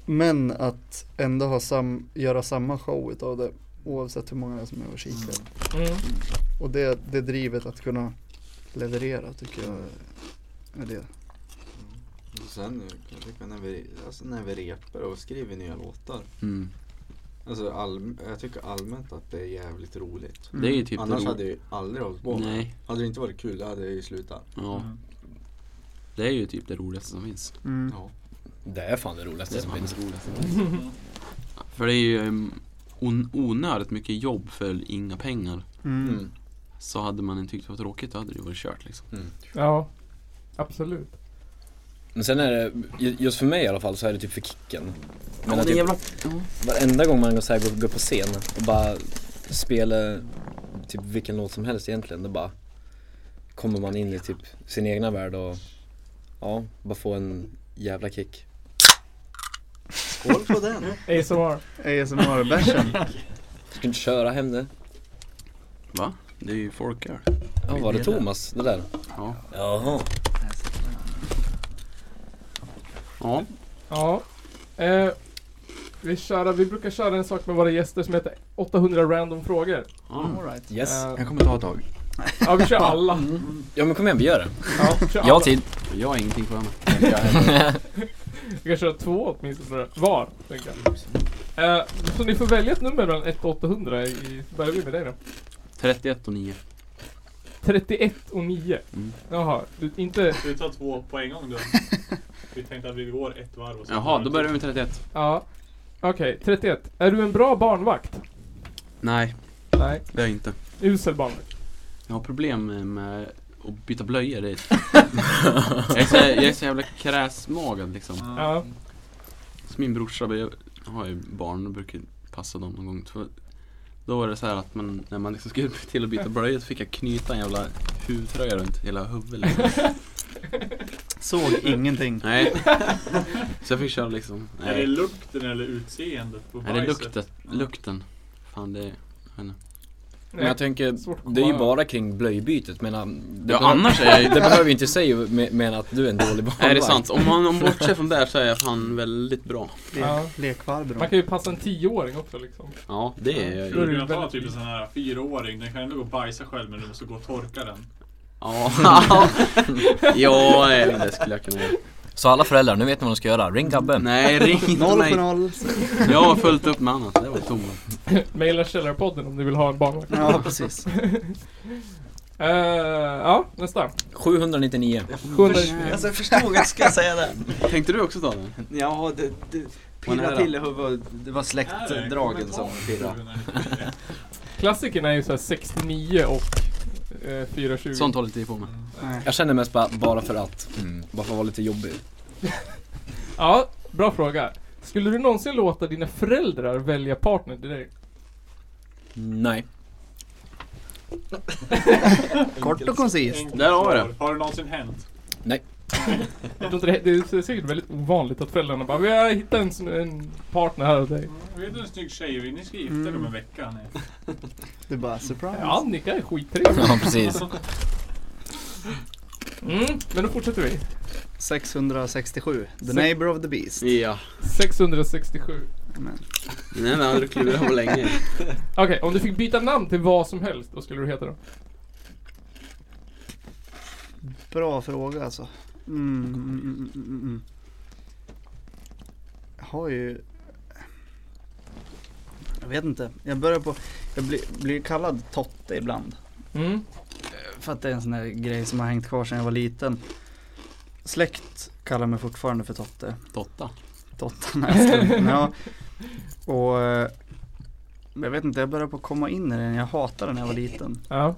men att ändå ha sam, göra samma show utav det oavsett hur många det är som är och kikar. mm. Och det, det drivet att kunna leverera tycker jag är det. Och sen jag tycker när vi, alltså när vi repar och skriver nya låtar. Mm. Alltså all, jag tycker allmänt att det är jävligt roligt. Det är ju typ Annars det hade jag ju aldrig hållit på med det. Nej, Hade det inte varit kul då hade jag ju slutat. ja. Det är ju typ det roligaste som finns. Mm. Det är fan det roligaste som finns. roligaste som finns. För det är ju mm, on- onödigt mycket jobb för inga pengar. Mm. Mm. Så hade man inte tyckt det var tråkigt, då hade det ju varit kört liksom. Ja, absolut. Men sen är det, ju- just för mig i alla fall så är det typ för kicken. Ja, Men att det är typ, jävla- varenda gång man går, så här, går, går på scen och bara spelar typ vilken låt som helst egentligen, då bara kommer man in i typ sin egna värld och ja, bara få en jävla kick. Skål på den! ASMR. ASMR-bärsen. Ska inte köra hem det. Va? Det är ju folköl. Ja, var det Thomas det där? Ja. Jaha. Ja. Ja. Eh, vi, köra, vi brukar köra en sak med våra gäster som heter 800 random frågor. ja. Yes. Eh, Jag kommer ta ett tag. ja, vi kör alla. Ja men kom igen vi gör det. Ja, vi kör Jag har alla. tid. Jag har ingenting för mig. Vi kan köra två åtminstone var, tänker jag. Eh, så ni får välja ett nummer mellan 1 och 800 i... Börjar vi med dig då? 31 och 9. 31 och 9. Mm. Jaha, du, inte... Ska vi ta två på en gång då? Vi tänkte att vi går ett varv och sen Jaha, då börjar vi med 31. Ja. Okej, 31. Är du en bra barnvakt? Nej, Nej. det är jag inte. Usel barnvakt. Jag har problem med att byta blöjor. [LAUGHS] Det är- jag, är så, jag är så jävla kräsmagad liksom. Ja. Så min brorsa, jag har ju barn och brukar passa dem någon gång. Så Då var det så här att man, när man liksom skulle [LAUGHS] till att byta blöjor så fick jag knyta en jävla huvtröja runt hela huvudet. [LAUGHS] Liksom. Såg ingenting. Nej. Så jag fick köra liksom. Är det Nej, lukten eller utseendet på är det bajset? lukten? Lukten. Fan det är... jag vet inte. Men jag tänker, Svårt att det är ju komma bara kring blöjbytet men um, det, Ja, behöver- annars är jag ju... [LAUGHS] det behöver ju inte säga me- men att du är en dålig [LAUGHS] barnvakt. Nej det är sant. Om man om bortser från det här så är jag fan väldigt bra. Le Ja. Lekfarbror. Man kan ju passa en tioåring också liksom. Ja, det är jag ju. Skulle du kunna ta typ en sån här fyraåring, den kan ändå gå och bajsa själv men du måste gå och torka den. Ja, [LAUGHS] ja det skulle jag kunna göra. Så alla föräldrar, nu vet ni vad de ska göra. Ring Gabbe. Nej, ring inte Noll på mig. noll. Jag har fullt upp med annat. Det var tomt. [LAUGHS] Maila Källarpodden om du vill ha en barnvakt. Ja, precis. Eh, ja, nästa. 799. 799. Alltså jag förstod att du skulle säga det. Tänkte du också ta den? Ja, det, det Vad är pirrade det? till i huvudet. Det var Här är en släktdragen som kommentar. pirrade. Klassikerna är ju såhär 69 och eh, 420. Sånt håller inte vi på med. Jag känner mest bara, bara för att. mm, Bara för att vara lite jobbig. Ja, bra fråga. Skulle du någonsin låta dina föräldrar välja partner till dig? Nej. Kort och koncist. Enkelt Där har vi svar. Har det någonsin hänt? Jag tror inte Det, det är säkert väldigt ovanligt att föräldrarna bara Vi har hittat en, sån- en partner här åt dig. Mm, Vet du en snygg tjej? Vill Ni ska gifta er Mm. om en vecka. Nej. Du bara surprise. Ja, Annika är skittrevlig. [LAUGHS] Ja, precis. Mm, men då fortsätter vi. 667. The Se- neighbor of the beast. Ja. 667. Amen. Den här hade du klurat på länge. Okej, om du fick byta namn till vad som helst, vad skulle du heta då? Bra fråga alltså. Mm, mm, mm, mm, mm. Jag har ju... Jag vet inte. Jag börjar på... Jag blir, blir kallad Totte ibland. Mm. För att det är en sån här grej som har hängt kvar sedan jag var liten. Släkt kallar mig fortfarande för Totte. Totta. Totten Näslund. ja. Och eh, jag vet inte, jag börjar på att komma in i den. Jag hatade den när jag var liten. Ja.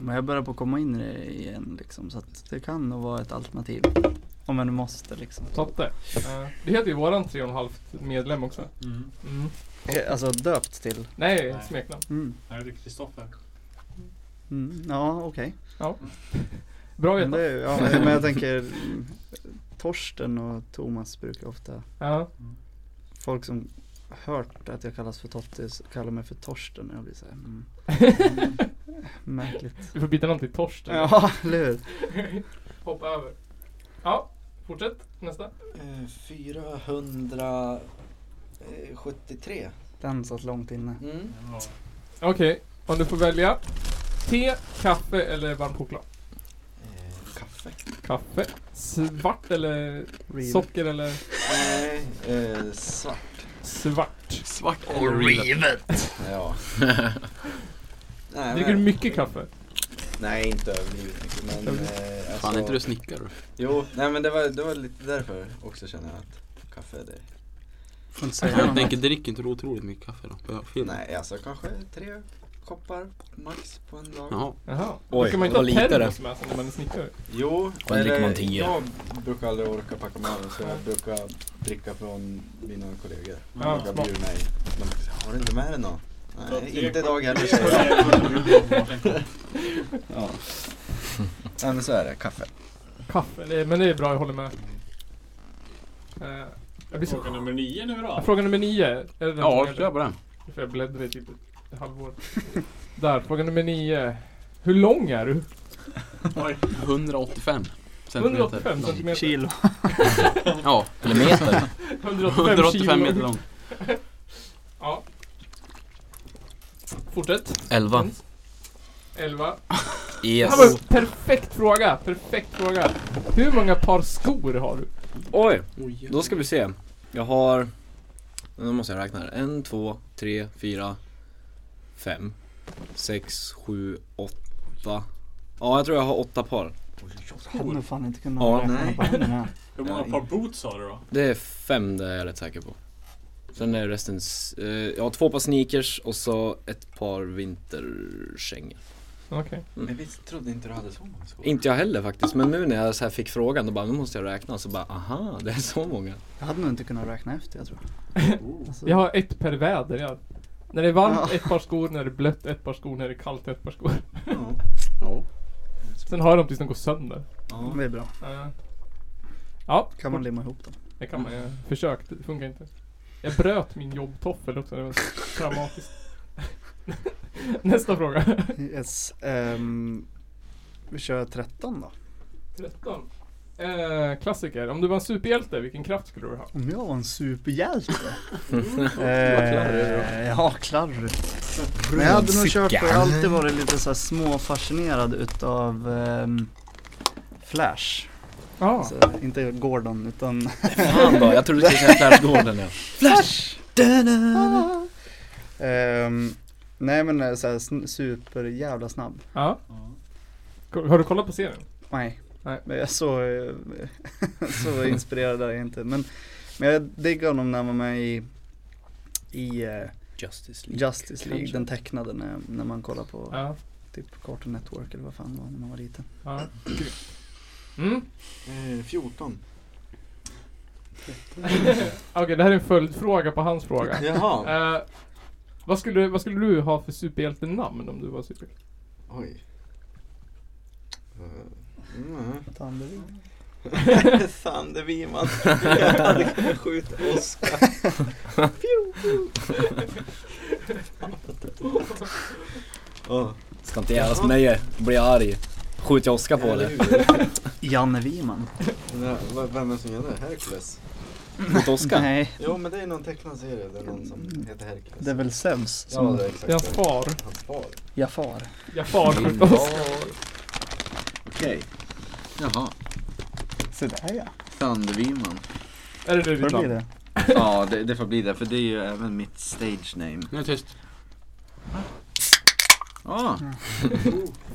Men jag börjar på att komma in i det igen liksom. Så att det kan nog vara ett alternativ. Om jag nu måste liksom. Totte. Eh, det heter ju våran 3,5 medlem också. Mm. Mm. Eh, Alltså döpt till. Nej, Nej. smeknamn. Mm. Jag heter Kristoffer. Mm. Ja, okej. Bra Men, vetat. det är- ja, men jag tänker mm, Torsten och Thomas brukar ofta, Ja. folk som hört att jag kallas för Tottis kallar mig för Torsten och jag blir såhär, mm. [LAUGHS] märkligt. Du får byta namn till Torsten. Ja, eller hur? Hoppa över. Ja, fortsätt. Nästa. Eh, 473. Den satt långt inne. Mm. Ja. Okej, om du får välja. Te, kaffe eller varm choklad? Eh, kaffe. Kaffe. Svart eller Real. socker eller Nej, eh, svart. svart? Svart eller real? Ja. nej, Dricker du men- mycket kaffe? Nej, inte överdrivet mycket. Men, eh, alltså, Fan, är inte du snickare? Jo, nej men det var, det var lite därför också känner jag att kaffe är det. Får inte säga Jag något. tänker, drick inte du otroligt mycket kaffe då? På film? Nej, alltså kanske tre koppar max på en dag. Jaha. Jaha. Då Oj, kan man vad inte lite ha det. termos med sig när man är snickare. Jo, Sen dricker man tio. jag brukar aldrig orka packa med mig så jag brukar dricka från mina kollegor. De Ja, brukar smart. bjuda mig. De brukar säga, har du inte med dig någon? Så Nej, tre inte kopp- idag heller tre säger jag. koppar- Ja. Nej men så är det, kaffe. Kaffe, det, men det är bra, jag håller med. Eh, jag blir så... Fråga nummer nio nu då. Fråga nummer nio. Är det den som Ja, gäller? kör på den. Nu får jag bläddra i typ ett halvår. Där, fråga nummer nio. Hur lång är du? Oj, 185 centimeter. 185 centimeter. Kilo. Ja, Eller meter. 185 kilo. 185 meter lång. Ja. Fortsätt. 11. Mm. 11. Det här var Yes. en perfekt fråga. Perfekt fråga. Hur många par skor har du? [LAUGHS] Oj, Oj, då ska vi se. Jag har... Nu måste jag räkna här. En, två, tre, fyra, fem, sex, sju, åtta. Ja, jag tror jag har åtta par. Hade nog fan inte kunnat Ja, räkna nej. på händerna. Hur många par boots har du då? Det är fem, det är jag rätt säker på. Sen är resten, s- eh, jag har två par sneakers och så ett par vinterkängor. Okej. Men visst trodde inte du hade så många skor? Inte jag heller faktiskt, men nu när jag så här fick frågan då bara, nu måste jag räkna och så bara, aha, det är så många. Jag hade nog inte kunnat räkna efter jag tror. Alltså, Jag har ett per väder. Jag. När det är varmt Ja. ett par skor, när det är blött ett par skor, när det är kallt ett par skor. [LAUGHS] Ja. Ja. Sen har jag dem tills de går sönder. Ja. Det är bra. Eh, Ja, Kan man limma ihop dem. det kan man ju. Försökt, det funkar inte. Jag bröt min jobbtoffel också, det var traumatiskt. Nästa fråga. Yes. ehm, vi kör 13 då. 13. Eh, klassiker. Om du var en superhjälte, vilken kraft skulle du ha? Om jag var en superhjälte. klarare då. eh, ja, klarrigt. Men jag hade nog kört på, jag har alltid varit lite så här småfascinerad utav ehm, Flash. Ja. Alltså, inte Gordon utan [LAUGHS] Fan då, jag trodde du skulle säga Flashgården ja. Ehm, Nej men eh, så här, sn- super jävla snabb. Ja. Har du kollat på serien? Nej. Nej. Men jag är så, eh, [LAUGHS] så inspirerad är jag inte. Men, men jag diggar honom när han var med i, i eh, Justice League. Justice League, kanske. den tecknade när, när man kollar på Ja. typ Cartoon Network eller vad fan det var när man var liten. ja. Mm. Eh, 14. [LAUGHS] Okej, det här är en följdfråga på hans fråga. Jaha. Eh, vad, skulle, vad skulle du ha för superhjältenamn om du var superhjälte? Oj. Eh, mm. Tandervik. [LAUGHS] Sander Wiman. Jag hade kunnat skjuta Oskar. Oh, Ska inte jävlas med mig, blir jag arg. Skjuter jag Oskar på det? [LAUGHS] Janne Wiman. Vem är det som gör det? Hercules? Mot Oskar? Nej, Jo men det är någon tecknad serie där någon som heter Hercules. det är väl Zeus som Ja det är exakt Hans far. Hans far. Jafar. Jafar skjuter Ja. oss. Okej, Jaha. Så där ja. Thunderviman. [LAUGHS] Är det nu ditt Vad blir namn? det? Ja, det, det får bli det för det är ju även mitt stage name. Nu är det tyst. Ja,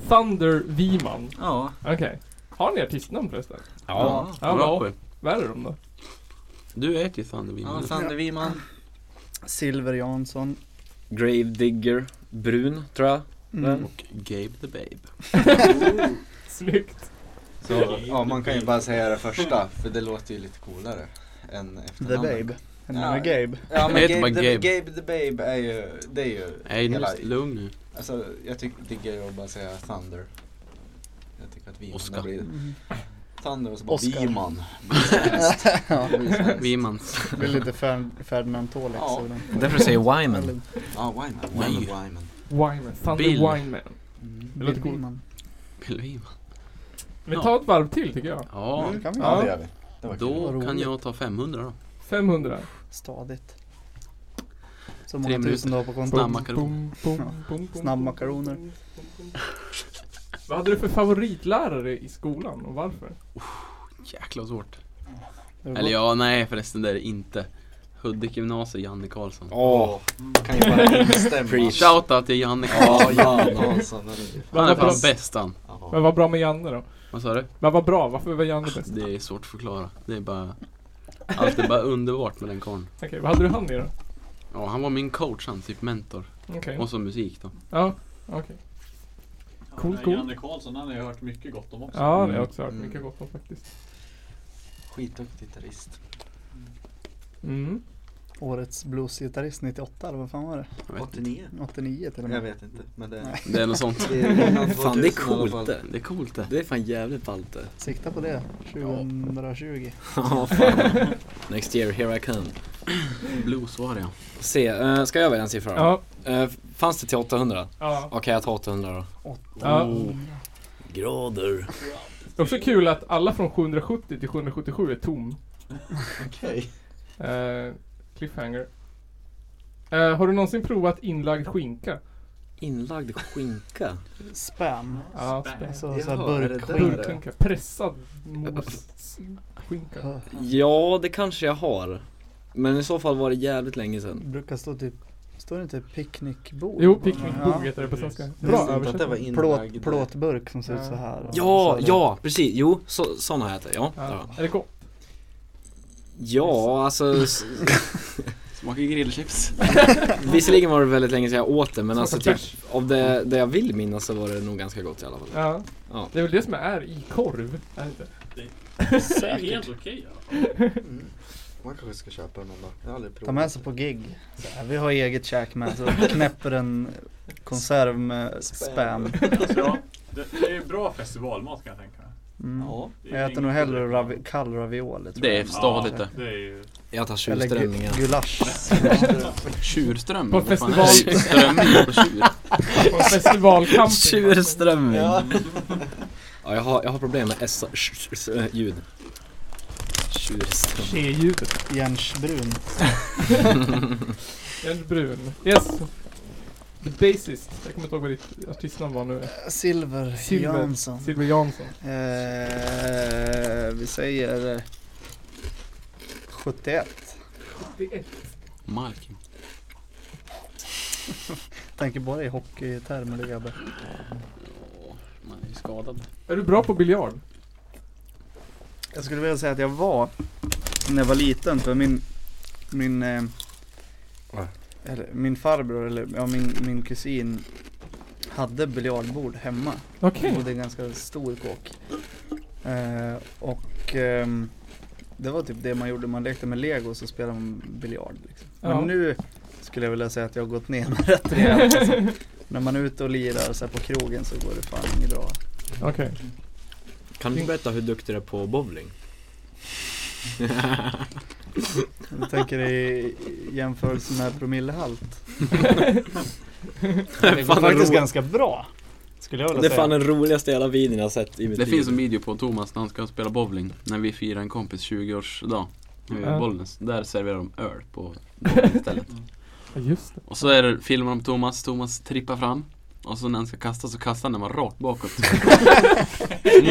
Thunder Viman. ja. Okej. Har ni artistnamn förresten? Ja. Bra Ja, bra. Poel. Vad är de då? Du är ju Thunderbeam. ja Thunderviman. Silver Jansson. Grave Digger, brun tror jag. Mm. Och Gabe the Babe. Snyggt. Så, ja man kan ju bara säga det första för det låter ju lite coolare än The efternamnet. Babe. Eller Ja. menar Gabe. Ja Jag men heter Gabe, bara the, Gabe. Gabe the Babe är ju, det är ju Nej, nu hela, är lugn nu. alltså jag tycker diggar ju att bara säga Thunder. Jag tycker att Wiman, Oscar. det blir Thunder och så bara Oscar. [LAUGHS] Wiman. Ja, Vimans. det blir lite Fer- Ferdinand Tålex Ja. över den. Därför säger Wyman. Ja, Wyman, Nej. Wyman, Wyman. Wineman. Thunder Bill. Wineman. Det låter Bill coolt. Wiman. Pelviman. Vi Ja. tar ett varv till tycker jag. Ja, Mm, kan vi Ja, göra. det gör vi. Det var kul. då Vad kan roligt. jag ta 500 då. 500. Stadigt. Så många minuter. tusen dagar på kontot. Snabb makaron. Bom, bom, Ja. bom, bom, bom, Snabbmakaroner. bom, bom, bom. Vad hade du för favoritlärare i skolan och varför? Jäklar vad svårt. Det var Eller gott. ja, nej förresten det är det inte. Hudik gymnasium, Janne Karlsson. Åh, Kan ju bara instämma. Preach. Shoutout till Janne Ja, Karlsson. Jan Karlsson. eller hur? Han är Vad var, fan bra, bäst han. vad Jaha. var bra med Janne då? Vad sa du? Vad var bra? Varför var Janne bäst? Det är svårt att förklara. Det är bara... Allt är bara underbart med den karln. Okej, vad hade du han i då? Ja, han var min coach han, typ mentor. Okej. Och så musik då. Ja, okej. Cool, Ja, cool. Janne Karlsson han har jag hört mycket gott om också. Ja, det har jag också hört Mm. mycket gott om faktiskt. Skitduktig gitarrist. Mm. Årets bluesgitarrist 98 eller vad fan var det? Jag vet inte. 89? 89 till och Jag med. vet inte, men det är... Nej. Det är något sånt. Det är innan fan det är 2000 i alla fall. coolt det. Det är coolt det. Det är fan jävligt ballt det. Sikta på det. 2020. Ja, fan. Next year, here I come. Blues var det ja. Se, eh, ska jag välja en siffra då? Ja, Eh, fanns det till 800? ja. Okej, jag tar 800 då. ja. Oh. Grader. Det är också kul att alla från 770 till 777 är tom. Okej. Eh, cliffhanger. Eh, har du någonsin provat inlagd skinka? Inlagd skinka. Spam. Ja, spä- Alltså såhär Jaha, är det burkskinka. där? Burkskinka. Pressad mosskinka. Ja, det kanske jag har. Men i så fall var det jävligt länge sedan. Brukar stå typ, står det inte picknickbord? Jo, på picknickbog den? heter det på svenska. Jag visste Bra inte att det var översättning. Ja. inlagd. Plåt, plåtburk som ser ut Ja. så här. Ja, Och så är det- ja, precis. Jo, så, sån har jag ätit. Ja, där Ja. var. Är det gott? ja alltså s- Smakar grillchips. visserligen var det väldigt länge sedan jag åt det men Smakar alltså typ bärs. av det, det jag vill minnas så var det nog ganska gott i alla fall. Ja. Ja. Det är väl det som är i korv? Är det inte? Det är helt okej i alla fall. Mm. Man kanske ska köpa den någon dag. Jag har aldrig provat. Ta med sig på gig. Så här, vi har eget käk med så knäpper en konserv med spam. Alltså, ja, det, det är bra festivalmat kan jag tänka mig. Mm. Ja. Det är Jag äter ingen- nog hellre ravi, kall ravioli tror Det är jag. stadigt det. Ja, det är ju... Jag tar Eller tjuvströmmingar. gu- [LAUGHS] gulasch. Tjurströmming. På Vad fan är festival. Tjurströmming på tjur. På en festivalcamping? Tjurströmming. Ja. jag, har, jag har problem med s sh- sh- sh- ljud. Tjurströmming. Tjejljudet. Jensbrun. Jens Brun. Yes. The Bassist. Jag kommer inte ihåg vad ditt artistnamn var nu. Silver, Silver. Jansson. Silver Jansson. Eh, vi säger eh, 71. Malkin. Tänker bara i hockeytermer du Gabbe. Ja, Man är ju skadad. Är du bra på biljard? Jag skulle vilja säga att jag var när jag var liten för min, min, eh, Va? eller, min farbror eller ja, min, min kusin hade biljardbord hemma. Okej. Och det är en ganska stor kåk. Eh, och ehm, det var typ det man gjorde, man lekte med lego så spelade man biljard. Liksom. Ja. Men nu skulle jag vilja säga att jag har gått ner mig [LAUGHS] rätt rejält. Alltså. När man är ute och lirar så här på krogen så går det fan inget bra. [LAUGHS] Okej. Kan du berätta hur duktig du är på bowling? Jag tänker i jämförelse med promillehalt. Det går Fan, faktiskt ro- ganska bra. Skulle jag vilja Det är säga. fan den roligaste jävla videon jag har sett i mitt Det liv. finns en video på Thomas när han ska spela bowling, när vi firar en kompis 20-årsdag i Ja. Bollnäs. Där serverar de öl på bowlingstället. Ja, Just det. Och så är det, filmar de Thomas, Thomas trippar fram och så när han ska kasta så kastar han den bara rakt bakåt.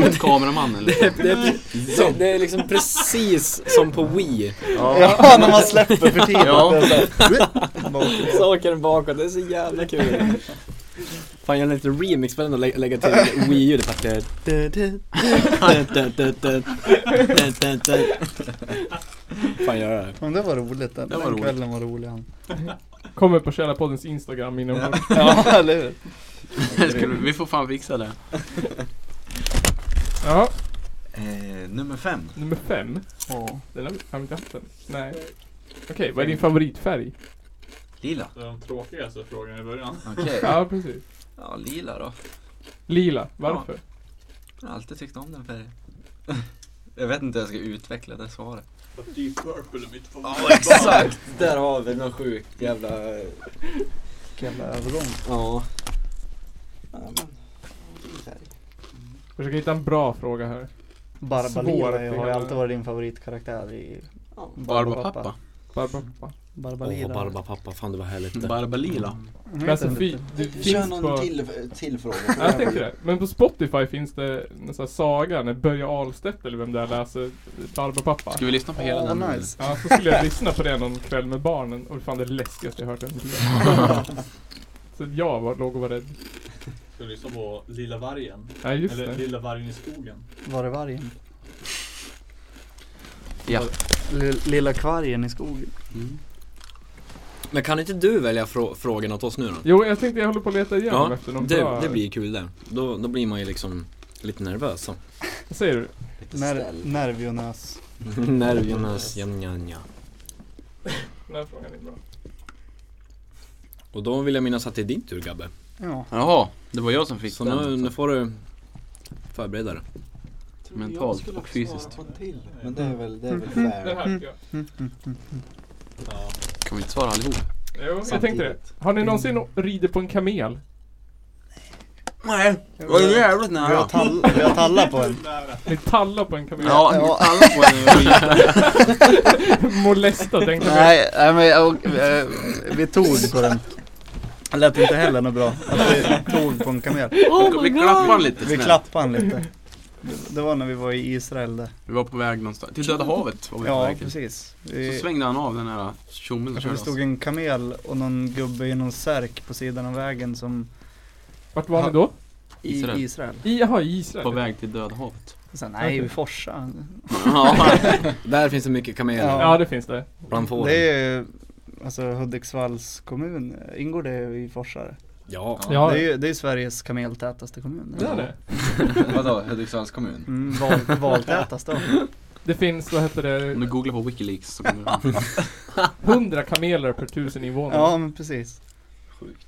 Mot kameramannen liksom. Det är, det, det är liksom precis som på Wii. Ja, när man släpper [LAUGHS] för tidigt. Ja. Saker den bakåt, det är [LAUGHS] så jävla kul. Fan jag har en liten remix på den och lä- lägga [LAUGHS] till Wii-ljudet. bara. Fan gör det. Men det var roligt. Den, Det var den roligt. kvällen var rolig. han. Kommer på Källarpoddens Instagram inom kort. Ja, [LAUGHS] eller hur? Skulle- Vi får fan fixa det. Ja, Eh, nummer fem. nummer fem. Ja. Den har vi har vi inte haft den. Nej. Okej, vad är din favoritfärg? Lila. Det är de tråkigaste frågorna i början. Okej. Ja, precis. Ja, lila då. Lila. Varför? Jag har alltid tyckt om [LAUGHS] den färgen. Jag vet inte hur jag ska utveckla det svaret. Deep Purple är mitt Ja, favoritband. exakt! [LAUGHS] Där har vi någon sjuk jävla... Vilken jävla övergång. Ja. Försöker hitta en bra fråga här. Svår att Barbalina har ju göra. alltid varit din favoritkaraktär i Barbapappa. Barbapapa. Barbalina. Åh, Barba pappa, fan det var härligt Mm. det. Barbalila. Jag vet Men alltså, inte. fi- det Kör finns någon på... till, till fråga. Ja, jag tänkte det. Men på Spotify finns det en sån här saga när Börje Ahlstedt eller vem det är läser Barbapapa. Ska vi lyssna på hela Åh, den? nice. Ja, så skulle jag lyssna på det någon kväll med barnen och fan det läskigaste jag hört i mitt liv. Så jag var, låg och var rädd. Ska du lyssna på Lilla Vargen? Nej, just Eller det. Lilla Vargen i skogen? Var det vargen? Ja. L- lilla kvargen i skogen. Mm. Men kan inte du välja frå- frågan åt oss nu då? Jo, jag tänkte jag håller på att leta igenom Ja, efter någon det, bra... det blir kul det. Då, då blir man ju liksom lite nervös. Så. Vad säger du? Ner- nervionös. Nervionas, ja, ja, ja. Den här frågan är bra. Och då vill jag minnas att det är din tur Gabbe. Ja. Jaha, det var jag som fick Så den. nu, nu får du förbereda dig. Mentalt och fysiskt. Men det är väl, det är väl Den fair. här tycker jag. Mm, mm, mm. Ja. Kan vi inte svara allihop? Jo, jag tänkte det. Har ni någonsin ridit på en kamel? Nej, det var jävligt Vi har, tall, vi har tallat på en. Nära. Ni tallar på en kamel? Ja, Ja. alla på en Molestat en kamel? Nej, nej men jag, [LAUGHS] eh, vi tog på den. Det lät inte heller något bra att vi tog på en kamel. Oh vi klappade han lite Vi snällt. klappade han lite. Det- Det var när vi var i Israel det. Vi var på väg någonstans. Till Döda havet var vi på Ja, väg till. precis. Så Vi, svängde han av den här tjommen och alltså, det körde oss. stod en kamel och någon gubbe i någon särk på sidan av vägen som Vart var ni då? i Israel. Israel. Israel. I, jaha, i Israel? På väg till Döda havet. Så, nej, vi forsar. Ja, Där finns det mycket kameler Ja. Ja, det finns det. bland fåren. Det är ju, alltså Hudiksvalls kommun, ingår det i Forsare? Ja. Ja, Det är ju det är Sveriges kameltätaste kommun. det är det. Vadå, Hudiksvalls kommun? Mm, [LAUGHS] val, valtätast då. Det finns, vad heter om du det, googlar på Wikileaks så kommer [LAUGHS] du... 100 kameler per tusen invånare. Ja men precis.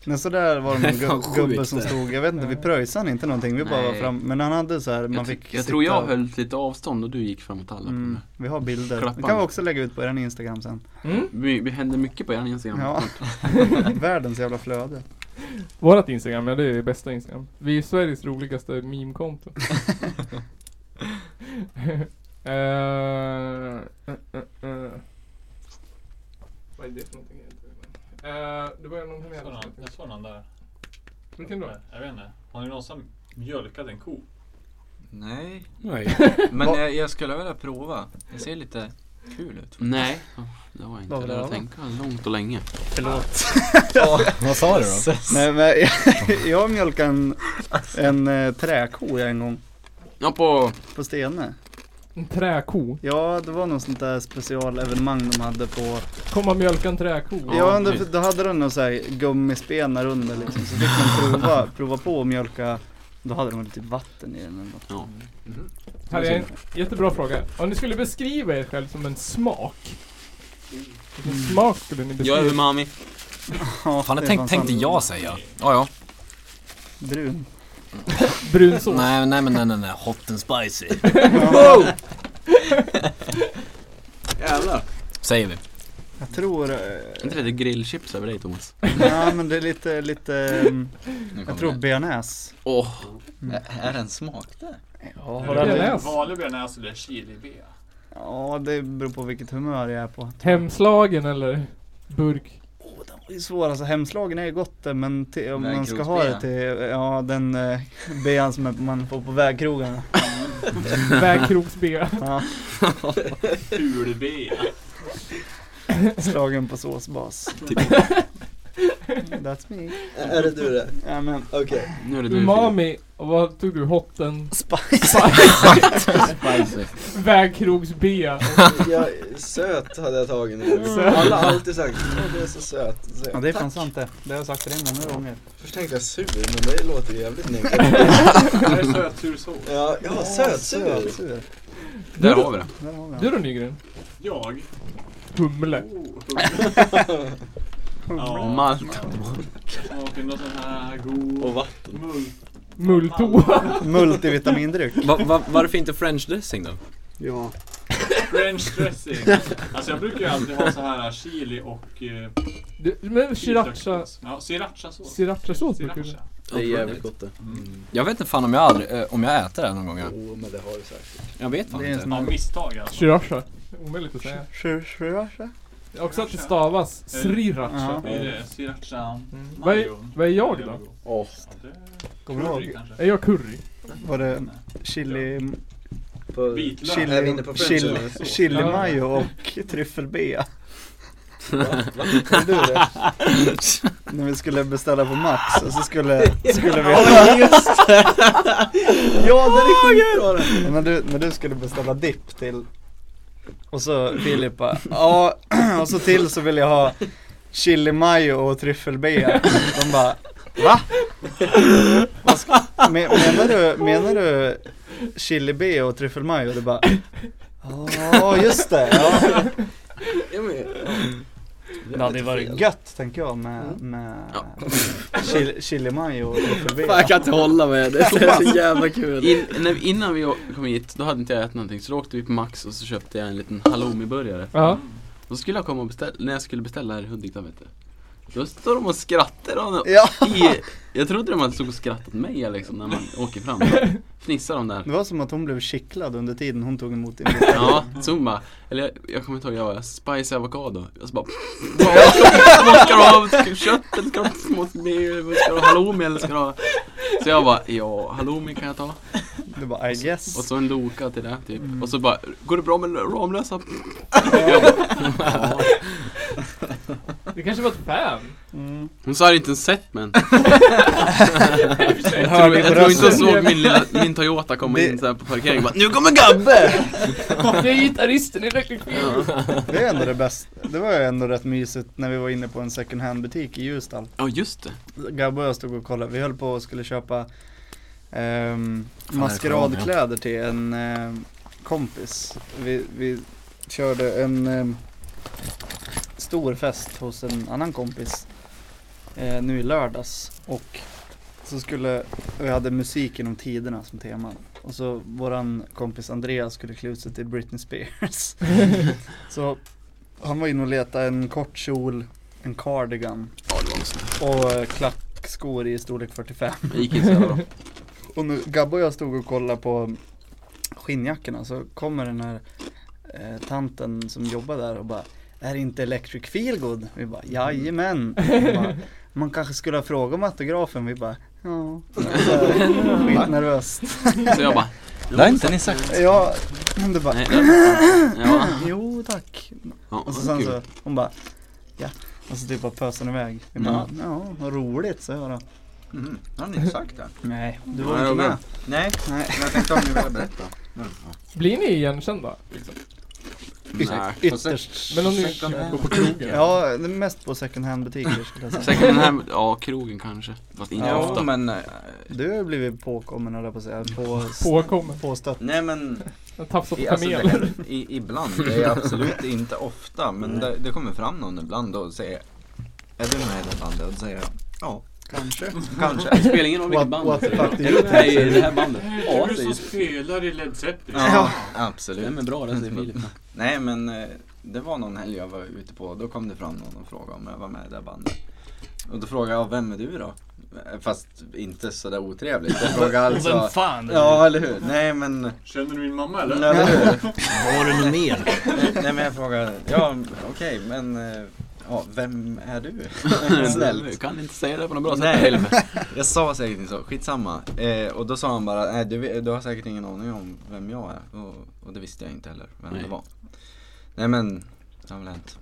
Men så där var [LAUGHS] det någon Fan, gub- sjukt gubbe som det. stod, jag vet inte, vi pröjsade inte någonting, vi bara var Nej. fram, men han hade så här, man Jag, fick ty- jag tror sitta- jag höll lite avstånd och du gick framåt alla. mm, Mm. Vi har bilder, det Klappande. kan vi också lägga ut på er Instagram sen. Mm? Vi, vi hände mycket på er Instagram. Ja. [LAUGHS] Världens jävla flöde. Vårat Instagram, ja det är det bästa Instagram. Vi är Sveriges roligaste meme-konto. [LAUGHS] Eh, eh, eh, eh. Vad är det för någonting? Uh, det var någon kamel. Jag såg någon- Jag såg någon där. Vilken då? Jag vet inte. Har ni någonsin mjölkat en [LAUGHS] ko? Nej, Nej. men Va- jag, jag skulle vilja prova. Jag ser lite... kul ut. Mm. Nej, det var inte. Vad var det det då? jag tänka långt och länge. Vad sa du då? Nej, men [LAUGHS] jag- jag mjölkade en, en eh, träko en gång Ja, på... på Stene. En träko. Ja, det var något sånt där specialevenemang de hade på Komma mjölka en träko. Ja, Ja, då, precis. då hade de någon så här gummispenar under liksom, så fick man prova, prova på att mjölka Då hade de väl typ vatten i den eller något. Ja. Här är en jättebra fråga. Om ni skulle beskriva er själv som en smak. Vilken smak skulle ni beskriva? Jag är umami. Ja, Fan, det tänk, tänkte jag säga. Ja, ja. Brun. [LAUGHS] Brun sås. Nej, nej, men nej, nej, nej. Hot and spicy. Jävlar. Säger vi. Jag tror, eh, Är inte det lite grillchips över dig Thomas? ja men det är lite, lite, ehm, jag tror bearnaise. Åh, Är det en smak där? Ja, Har du Är det läst? Vanlig bearnaise eller chili-bea? ja, det beror på vilket humör jag är på. Hemslagen eller burk? Det är svårt, alltså hemslagen är ju gott det, men till, om Den man ska ha det krogsbean. till, ja den eh, bean som man får på vägkrogarna. Vägkrogsbea. Ja, Ful-bea. slagen på såsbas. That's me. Är det du [LAUGHS] det? Ja, men, Okej. nu är det du Filip. Umami. Och vad tog du? Hotten? spice. Spicy. Vägkrogsbea. Jag, söt hade jag tagit nu. Söt. Alla har alltid sagt att det är så söt. Så, Ja det är fan sant det, det har jag sagt till dig många gånger. Först tänkte jag sur, men det låter ju jävligt negativt. Här är sötsur sås. Ja, ja söt, sur. Sötsur. Där har vi det. Där har vi Du den. då Nygren? Jag? Humle. Oh, ja, Malt. smakar någon sån här god... Och vatten. Mult. Mulltoa. Multivitamindryck. Va, va, varför inte french dressing då? Ja. French dressing. Alltså jag brukar ju alltid ha så här chili och... Eh, Du- Men sriracha. Ja, srirachasås. Srirachasås brukar du Sriracha. Det är jävligt gott det. Jag vet inte fan om jag aldrig, eh, om jag äter det någon gång. ja. Jo, men det har du säkert. Jag vet fan Det är en inte. sån Av här... misstag alltså. i alla fall. Sriracha. Omöjligt att säga. Sriracha? Jag har också att det stavas sriracha. Ja. Blir det sriracha Mm. Vad är, vad är jag då? Åh. Kommer du ihåg? Är jag curry? Var det chili... På Vitlök. Är vi inne på French chili, eller? chili Ja. mayo och tryffelbea. Är du det? [LAUGHS] När vi skulle beställa på Max och så skulle, skulle vi... just det! Ja den är skitbra den! När du, när du skulle beställa dipp till Och så Filip bara, ja [CLEARS THROAT] och så till så vill jag ha chili mayo och tryffelbea De bara, va? Vad ska- men- Menar du, menar du chili bea och tryffel mayo? Du bara, ja just det! [LAUGHS] Ja. Ja, men, ja. Det hade ju varit gött tänker jag med, med chili, chili mayo [LAUGHS] och Fan, tryffelbea jag kan inte hålla mig. Det är så jävla kul. In, när, innan vi å- kom hit, då hade inte jag ätit någonting. Så då åkte vi på Max och så köpte jag en liten halloumiburgare. Ja. Då skulle jag komma och beställa, när jag skulle beställa här i Hudiksvall vet du. Då står de och skrattar [LAUGHS] och Ja, i, Jag trodde de hade stått och skrattat åt mig liksom när man åker fram. Fnissar de där. det var som att hon blev kittlad under tiden hon tog emot [LAUGHS] din Ja, Zumba. Eller jag, jag kommer inte ihåg, jag var spicy avokado. Jag så bara... Vad ska du ha? Ska du ha kött eller ska du ha små- Ska du ha halloumi eller ska du ha... Så jag bara, ja halloumi kan jag ta. Du bara, I Och guess så en Loka till det typ. Och så bara, går det bra med Ramlösa? Det kanske var ett fan. mm. Hon sa det inte ens sett men. Jag Jag tror, hörde på jag tror inte rösten. jag såg min, lilla, min Toyota komma Det- in så här på parkeringen bara, nu kommer Gabbe! Det är gitarristen i Electric Feel. Det är ändå det bästa. Det var ju ändå rätt mysigt när vi var inne på en second hand butik i Ljusdal. [LAUGHS] Ja just det. Gabbe och jag stod och kollade. Vi höll på och skulle köpa ehm, Fan, maskeradkläder till en ehm, kompis. Vi, vi körde en ehm, stor fest hos en annan kompis eh, nu i lördags och så skulle, vi hade musik genom tiderna som tema och så våran kompis Andreas skulle klä ut sig till Britney Spears. så han var inne och letade en kort kjol, en cardigan Ja det var något sånt. och eh, klackskor i storlek 45. Det gick inte så jävla bra. Och nu, Gabbo och jag stod och kollade på skinnjackorna så kommer den här eh, tanten som jobbar där och bara Är det inte Electric Feelgood? Vi bara Jajamän! Hon Bara, Man kanske skulle ha frågat om autografen, vi bara Ja, Så här, skitnervöst Så jag bara, Det har inte ni sagt. Ja, Hon bara, [LAUGHS] Nej, ja. ja. jo tack. ja. Och så sen kul. så, hon bara, ja. Och så typ bara pös hon iväg. Jag bara, ja vad roligt så jag då. Mm. Har ni inte sagt det? Nej, du Nej, var inte jag med. Nej, Nej. men jag tänkte om ni ville berätta. Blir ni igenkända? Nej. Ytterst. Men om ni Second hand. går på krogen? Ja, det är mest på second hand butiker skulle jag säga. Säkert den här, ja krogen kanske. Fast inte Ja, ofta. men... eh, Du har ju blivit påkommen höll jag på att säga. På, Påkommen? påstött. Nej men, En tafsad i, alltså, kamel? det, i, ibland. Det är absolut inte ofta, men det, det kommer fram någon ibland och säger Är du med i det bandet? Och då säger jag Ja, Kanske. kanske. Det spelar ingen roll vilket What, band what the det är. fuck do Är du you med i think? det här bandet? Ja, Du säger som spelar i Led Zeppelin. Ja, Vem är absolut. bra den stilen? Nej men, eh, det var någon helg jag var ute på då kom det fram någon och frågade om jag var med i det bandet. Och då frågade jag, vem är du då? Eh, Fast inte sådär otrevligt. Jag frågade alltså... fan? Ja, eller hur? Nej men... Känner du min mamma eller? Nej, eller hur? Har du något mer? [LAUGHS] Nej men jag frågar, ja okej men, eh, ja, vem är du? Snäll. Snällt. Kan inte säga det på något bra sätt. Nej. Helvete. [LAUGHS] Jag sa säkert inte så, skitsamma. Eh, och då sa han bara, nej du, vet- du har säkert ingen aning om vem jag är. Och, och det visste jag inte heller, vem Nej. det var. Nej men, det har väl hänt.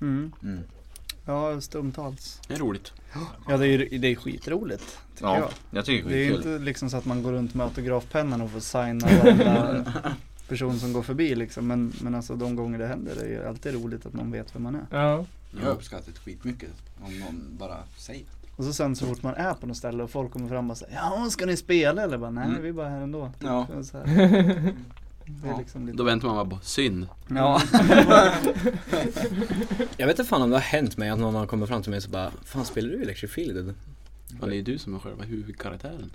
Mm. Mm. Ja, stumtals. Det är roligt. Ja, det är, ju- det är skitroligt. Tycker Ja, jag. jag tycker Det är ju skitkul. inte liksom så att man går runt med autografpennan och får signa varenda person som går förbi liksom. Men, men alltså de gånger det händer, det är ju alltid roligt att man vet vem man är. Ja. Jag har uppskattat skitmycket om någon bara säger Och så sen så fort man är på något ställe och folk kommer fram och säger Ja, ska ni spela? Eller bara nej, Mm. vi är bara här ändå. Typ Ja. Så här. Det är Ja, liksom lite... Då väntar man bara på synd. Ja. Jag vet inte fan om det har hänt mig att någon har kommit fram till mig och så bara Fan spelar du Electric Field? [LAUGHS] Ja, det är du som är själva huvudkaraktären.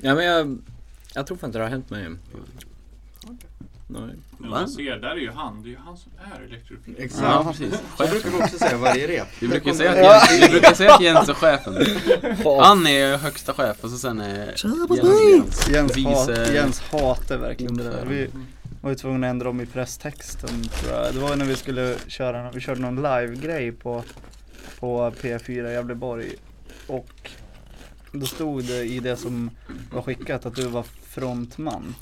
ja men jag, jag tror fan inte det har hänt mig Nej. Men Va? man ser, där är ju han. Det är ju han som är elektrofisk. Exakt. Ja, precis. Så brukar vi också säga varje rep. Vi brukar ju säga att Jens, vi brukar ju säga att Jens är chefen. Han är högsta chef och så sen är Jens Jens, hat, Vice- Jens hatar verkligen det där. Vi var ju tvungna att ändra om i presstexten tror jag. Det var ju när vi skulle köra, vi körde någon live-grej på, på P4 Gävleborg. Och då stod det i det som var skickat att du var frontman.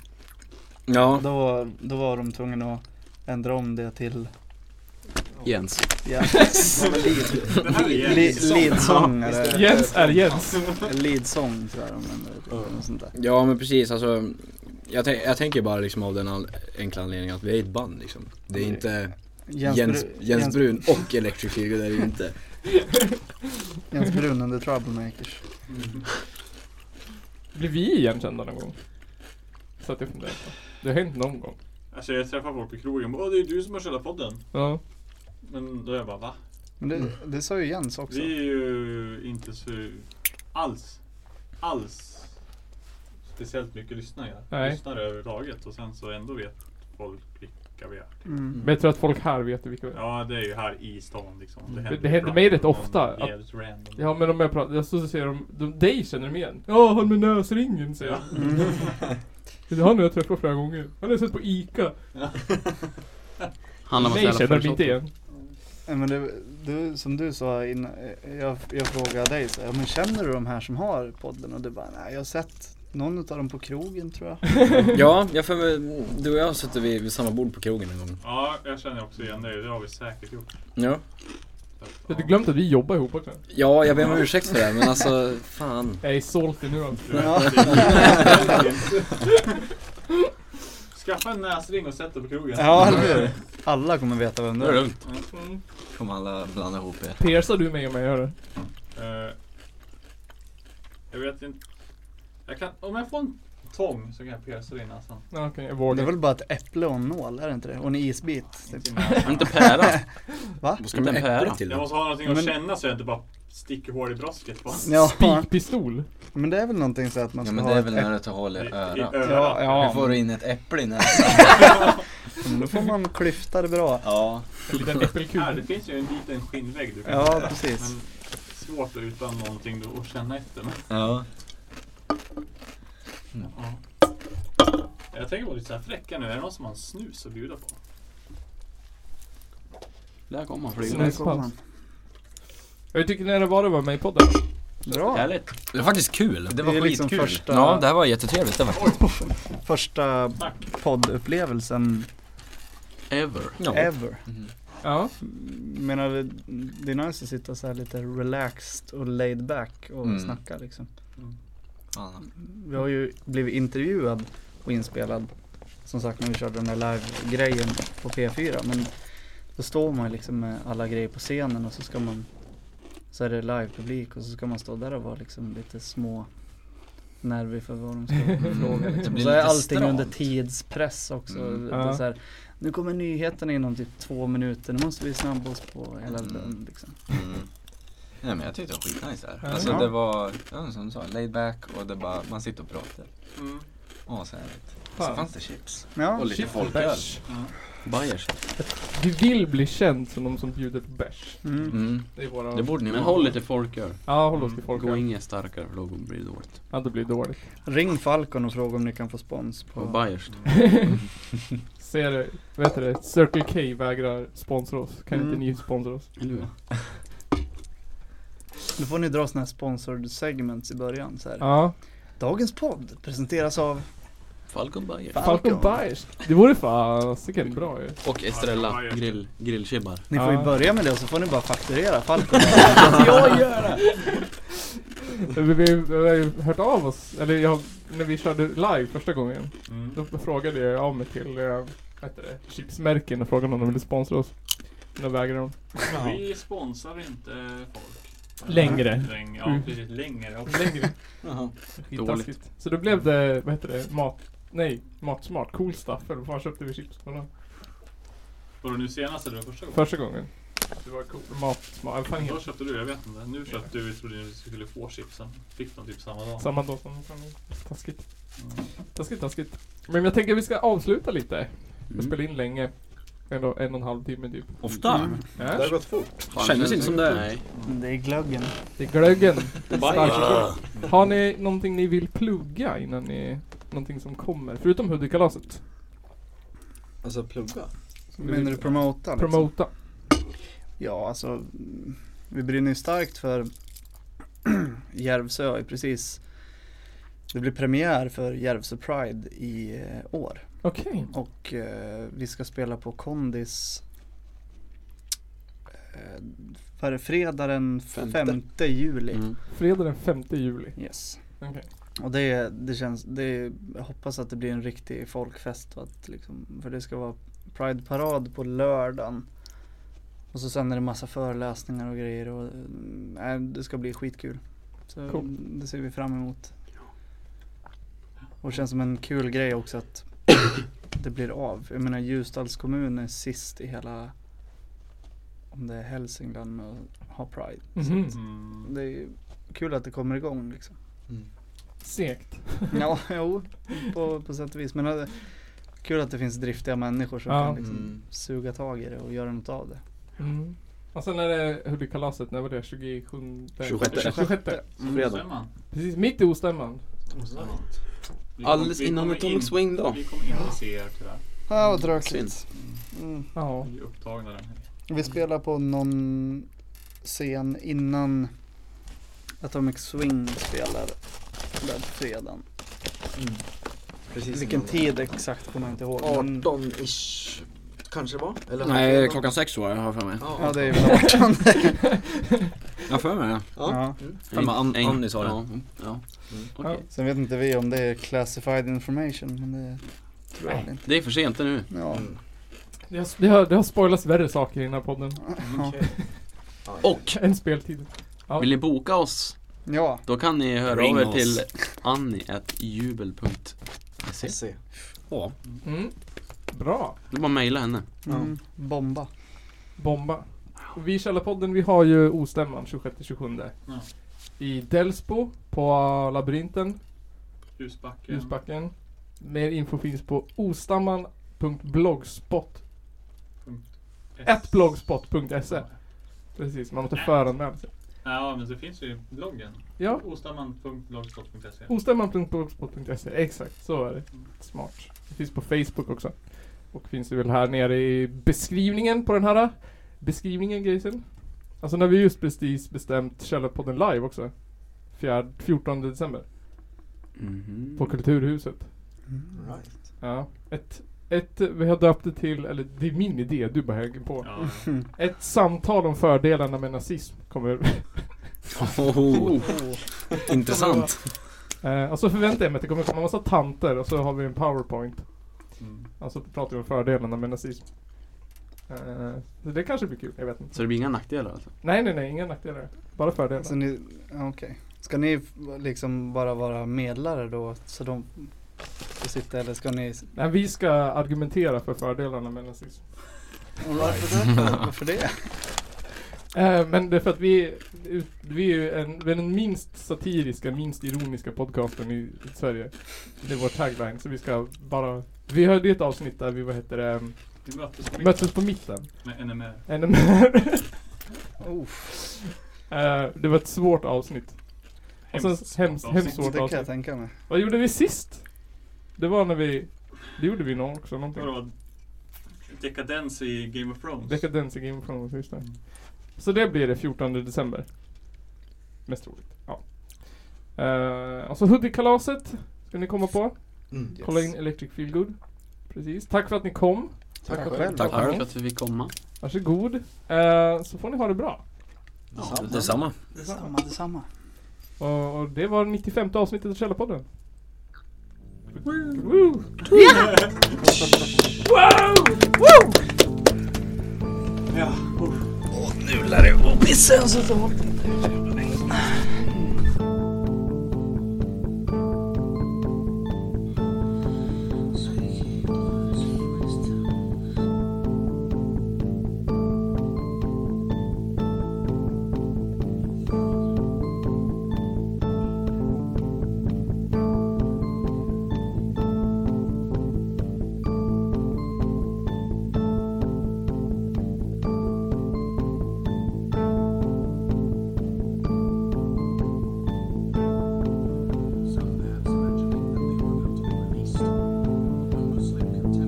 Ja, Då, var- då var de tvungna att ändra om det till Jens. ja, Det här är li, Jens. leadsångare. Jens är Jens. Leadsång tror jag de ändrade till. eller något sånt där. ja men precis alltså jag, tän- jag tänker bara liksom av den an- enkla anledningen att vi är ett band liksom Det är inte Jens, Jens, Bru- Brun och Electric Field, det är det inte Jens Brun and the Troublemakers. Blir vi igenkända någon gång? Så att jag funderar på. Det har hänt någon gång. Alltså jag träffar folk på krogen. Åh, det är du som har själva podden. Ja. Men då är jag bara, va? Men det, det sa ju Jens också. Vi är ju inte så alls, alls speciellt mycket lyssnare. Nej. Lyssnare överhuvudtaget och sen så ändå vet folk vilka vi är. Mm. Men jag tror att folk här vet vilka vi är. Ja, det är ju här i stan liksom. Mm. Det- det händer mig rätt ofta att- Att... Random. Ja men om jag pratar, jag står och säger de, de, dig känner de igen. Ja han med näsringen säger jag. Mm. Det är han jag träffat flera gånger. Han har jag sett på ICA. Handlar om att Mig ställa känner de inte försåt. igen. Nej, Men det, du, som du sa innan, eh, jag, jag frågade dig så här, "Ja, men känner du de här som har podden? Och du bara, nej jag har sett någon av dem på krogen tror [LAUGHS] jag. Ja, jag för mig, du och jag har suttit vid, vid samma bord på krogen en gång Ja, jag känner också igen dig. Det har vi säkert gjort. Ja, Så att, Jag ja. hade glömt att vi jobbar ihop också. ja jag ber om ursäkt för det här, men alltså fan Jag är salty nu alltså. Skaffa en näsring och sätt dig på krogen. Ja, eller hur? Alla kommer veta vem Det det är är. lugnt. Mm. Kommer alla blanda ihop er. Persar du mig om jag gör det? Eh, jag vet inte. Jag kan, om jag får en tång så kan jag alltså. pierca dig i näsan. Ja, Okej, jag Det är vågar. väl bara ett äpple och en nål, är det inte det? Och en isbit. Typ. Inte i näsan. Men inte pära. Va? Ska Ska inte man en pära? äpplet till Jag då? måste ha någonting Men- att känna så jag inte bara sticker hål i brosket. Bara. Ja, Spikpistol. men det är väl någonting så att man Ja ska men ha det är ett väl äpple. när du tar hål i I, i örat. örat. Hur Ja, får du in ett äpple i näsan? men då får man klyfta det bra. Ja. En liten Här, det äppelkula. finns ju en liten skinnvägg du kan Ja, sätta. precis. Men svårt utan någonting då att känna efter. Men, Ja. ja. Jag tänker vara lite så här fräcka nu. Är det någon som har en snus att bjuda på? Där kommer han Så flygande. där kom han. Jag tycker ni det var det var med i podden? Bra. Härligt. Det var faktiskt kul. Det var är liksom skitkul. första, Ja, det här var jättetrevligt. Det var första Tack. poddupplevelsen Ever. ja. ever. Ja. Menar, det- det är nice att sitta så här lite relaxed och laid back och Mm. snacka liksom. Fan. Vi har ju blivit intervjuad och inspelad som sagt när vi körde den här live-grejen på P4 men då står man ju liksom med alla grejer på scenen och så ska man så är det live-publik och så ska man stå där och vara liksom lite små nervig för vad de ska [LAUGHS] fråga liksom. Och blir så är lite allting stramt. under tidspress också. Mm. Det är Ja. så här, nu kommer nyheterna inom typ två minuter, nu måste vi snabba oss på hela Mm. den liksom. Mm. Nej men jag tyckte det var skitnice här. Ja. Alltså Ja. det var, ja, som du sa, laid back och det bara, man sitter och pratar. Ashärligt. Så Fan. fanns det chips. Ja, Och lite Chips och folköl. bärs. Bayers. Du vill bli känd som de som bjuder på bärs. mm. Mm. Det är våra... Det borde ni Men håll lite folköl. Ja, håll oss till folk. Gå inget starkare för då blir det dåligt. Ja, det blir dåligt. ring Falcon och fråga om ni kan få spons Och på Bayers. Ser du, vet du det? Circle K vägrar sponsra oss. Kan inte Mm. ni sponsra oss? Eller hur? Då får ni dra såna här sponsored segments i början så här. Ja. Dagens podd presenteras av Falcon Bayers. Falcon Bajs. Det vore fasiken bra ju. Och Estrella grill, grillkibbar. Ni får Ja. ju börja med det och så får ni bara fakturera [LAUGHS] Falcon [LAUGHS] Vi, vi, vi har ju hört av oss, eller jag, när vi körde live första gången. Mm. Då frågade jag av mig till, eh, vad heter det, chipsmärken och frågade om de ville sponsra oss. Men då vägrade de. Vi sponsrar inte folk. Längre. Läng, ja, Mm. precis. Längre. Och Längre. Jaha. Skittaskigt. Så då blev det, vad heter det, mat, nej, matsmart, cool stuff. Eller vad köpte vi chips från dem? Var det nu senast eller var det första gången? Första gången. Det var cool, matsmart, vad fan Då heter köpte du, jag vet inte. Nu köpte du, jag trodde ni skulle få chipsen. Fick dem typ samma dag. det? Samma dag som fan, Taskigt. Taskigt, taskigt. Men jag tänker att vi ska avsluta lite. Vi Mm. spelar in länge. En och, en och en halv timme typ. Ofta. Mm. Ja. Det har gått fort. Fan, Kändes inte som det. Nej. Det är glöggen. Det är glöggen. Bayers. Har ni någonting ni vill plugga innan ni... Någonting som kommer? Förutom Hoodie-kalaset. Alltså plugga. Menar du promota? Liksom? Promota. Ja, alltså mm, vi brinner ju starkt för [CLEARS THROAT] Järvsö har ju precis det blir premiär för Järvsö Pride i eh, år Okej. och eh, vi ska spela på Kondis eh, vad är det, fredag den Femte. 5 juli. Mm. Fredag den 5 juli. Yes. Okej. Och det, det känns, det, jag hoppas att det blir en riktig folkfest. och Att liksom, för det ska vara Pride-parad på lördagen. Och så sen är det massa föreläsningar och grejer. Och, mm, nej, det ska bli skitkul. Så Cool. Det ser vi fram emot. Och det känns som en kul grej [COUGHS] också att det blir av. Jag menar Ljusdals kommun är sist i hela, om det är Hälsingland med att ha Pride. Mhm. Mm. Det är ju kul att det kommer igång liksom. Segt. Ja, jo, på, på sätt och vis. Men eh, kul att det finns driftiga människor som Ja. kan liksom Mm. suga tag i det och göra något av det. Mm. Och sen är det Hoodie-kalaset, när var det? 27? 26. 26. Fredag. Stämman. Precis, mitt i ostämman. Vi kom- Alldeles vi innan kommer in- Atomic Swing då. Vi kommer inte se er tyvärr. Ja, vad tråkigt. Mm. Ja. Vi är upptagna den här. Vi spelar på någon scen innan Atomic Swing spelar där på fredagen. Precis Vilken innan. tid exakt kommer jag inte ihåg. men- 18-ish kanske det var? Eller Nej, klockan sex var jag har jag för mig. Ja, [LAUGHS] Ja, det är väl 18. Jag har för mig det. ja. Ja, men An- Eng- Annie sa det. Ja, mm, Ja. Mm. Okej. Sen vet inte vi om det är classified information, men det tror jag väl inte. Det är för sent nu. Ja. Mm. Det har, det, har, det har spoilats värre saker i den här podden. Ja, Ja. ja. Och Än speltiden. Ja. vill ni boka oss? ja. Då kan ni höra Ring av er oss. till annie.jubel.se Se. Ja. Mm. Bra. Det är bara att mejla henne. Mm. Bomba. Bomba. Och Vi i Källarpodden, vi har ju ostämman 26-27. Ja. I Delsbo, på Labyrinten, Ljusbacken. Ljusbacken. Mer info finns på ostamman.blogspot. Ett blogspot.se. Precis, man måste föranmäla sig. Ja, men det finns ju i bloggen. Ja, Oh. Ostamman.blogspot.se. ostamman.blogspot.se. Exakt, så är det. Smart. Det finns på Facebook också. Och finns det väl här nere i beskrivningen på den här äh, beskrivningen grisen. Alltså när vi just precis bestämt Källarpodden live också. fjärd- 14 december. Mhm. Mm. På Kulturhuset. Right. Ja. Ett, ett, vi har döpt det till, eller det är min idé, du bara hänger på. Ja. Ett samtal om fördelarna med nazism kommer. Oh, [LAUGHS] intressant. eh, och så förväntar jag mig att det kommer komma massa tanter och så har vi en powerpoint. Mm. Och så pratar vi om fördelarna med nazism. Eh, så det kanske blir kul, jag vet inte. Så det blir inga nackdelar alltså? Nej nej nej, inga nackdelar. Bara fördelar. Så ni, ja, okej. Ska ni f- liksom bara vara medlare då? Så de får sitta eller ska ni? Nej, vi ska argumentera för fördelarna med nazism. Varför det? [LAUGHS] Varför det? Eh, men det är för att vi, är ut- vi är ju en, vi är den minst satiriska, minst ironiska podcasten i Sverige. Det är vår tagline, så vi ska bara... Vi hörde ju ett avsnitt där vi, vad heter det, Vi möttes på mitten möttes på mitten. med NMR. Ännu mer. Eh, det var ett svårt avsnitt. Och sen Hemskt hemskt, avsnitt. Alltså, hemskt svårt Det kan jag avsnitt. tänka mig. Vad gjorde vi sist? Det var när vi... Det gjorde vi nog också, någonting. Vadå? Dekadens i Game of Thrones? Dekadens i Game of Thrones, just det. Så det blir det 14 december. Mest troligt. Ja. Uh, och så Hoodie-kalaset ska ni komma på. Mm, yes. Kolla in Electric Feel Good. Precis. Tack för att ni kom. Tack Tack själv. själv. Tack Ja. själv. För att vi fick komma? Varsågod. Uh, så får ni ha det bra. Detsamma. Detsamma, detsamma. Och, och det var 95 avsnittet av Källarpodden. Woo! Det är väl ungefär vad jag hade förväntat mig av den här skitkanalen som jag just nu är med i.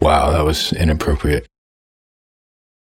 Wow, that was inappropriate.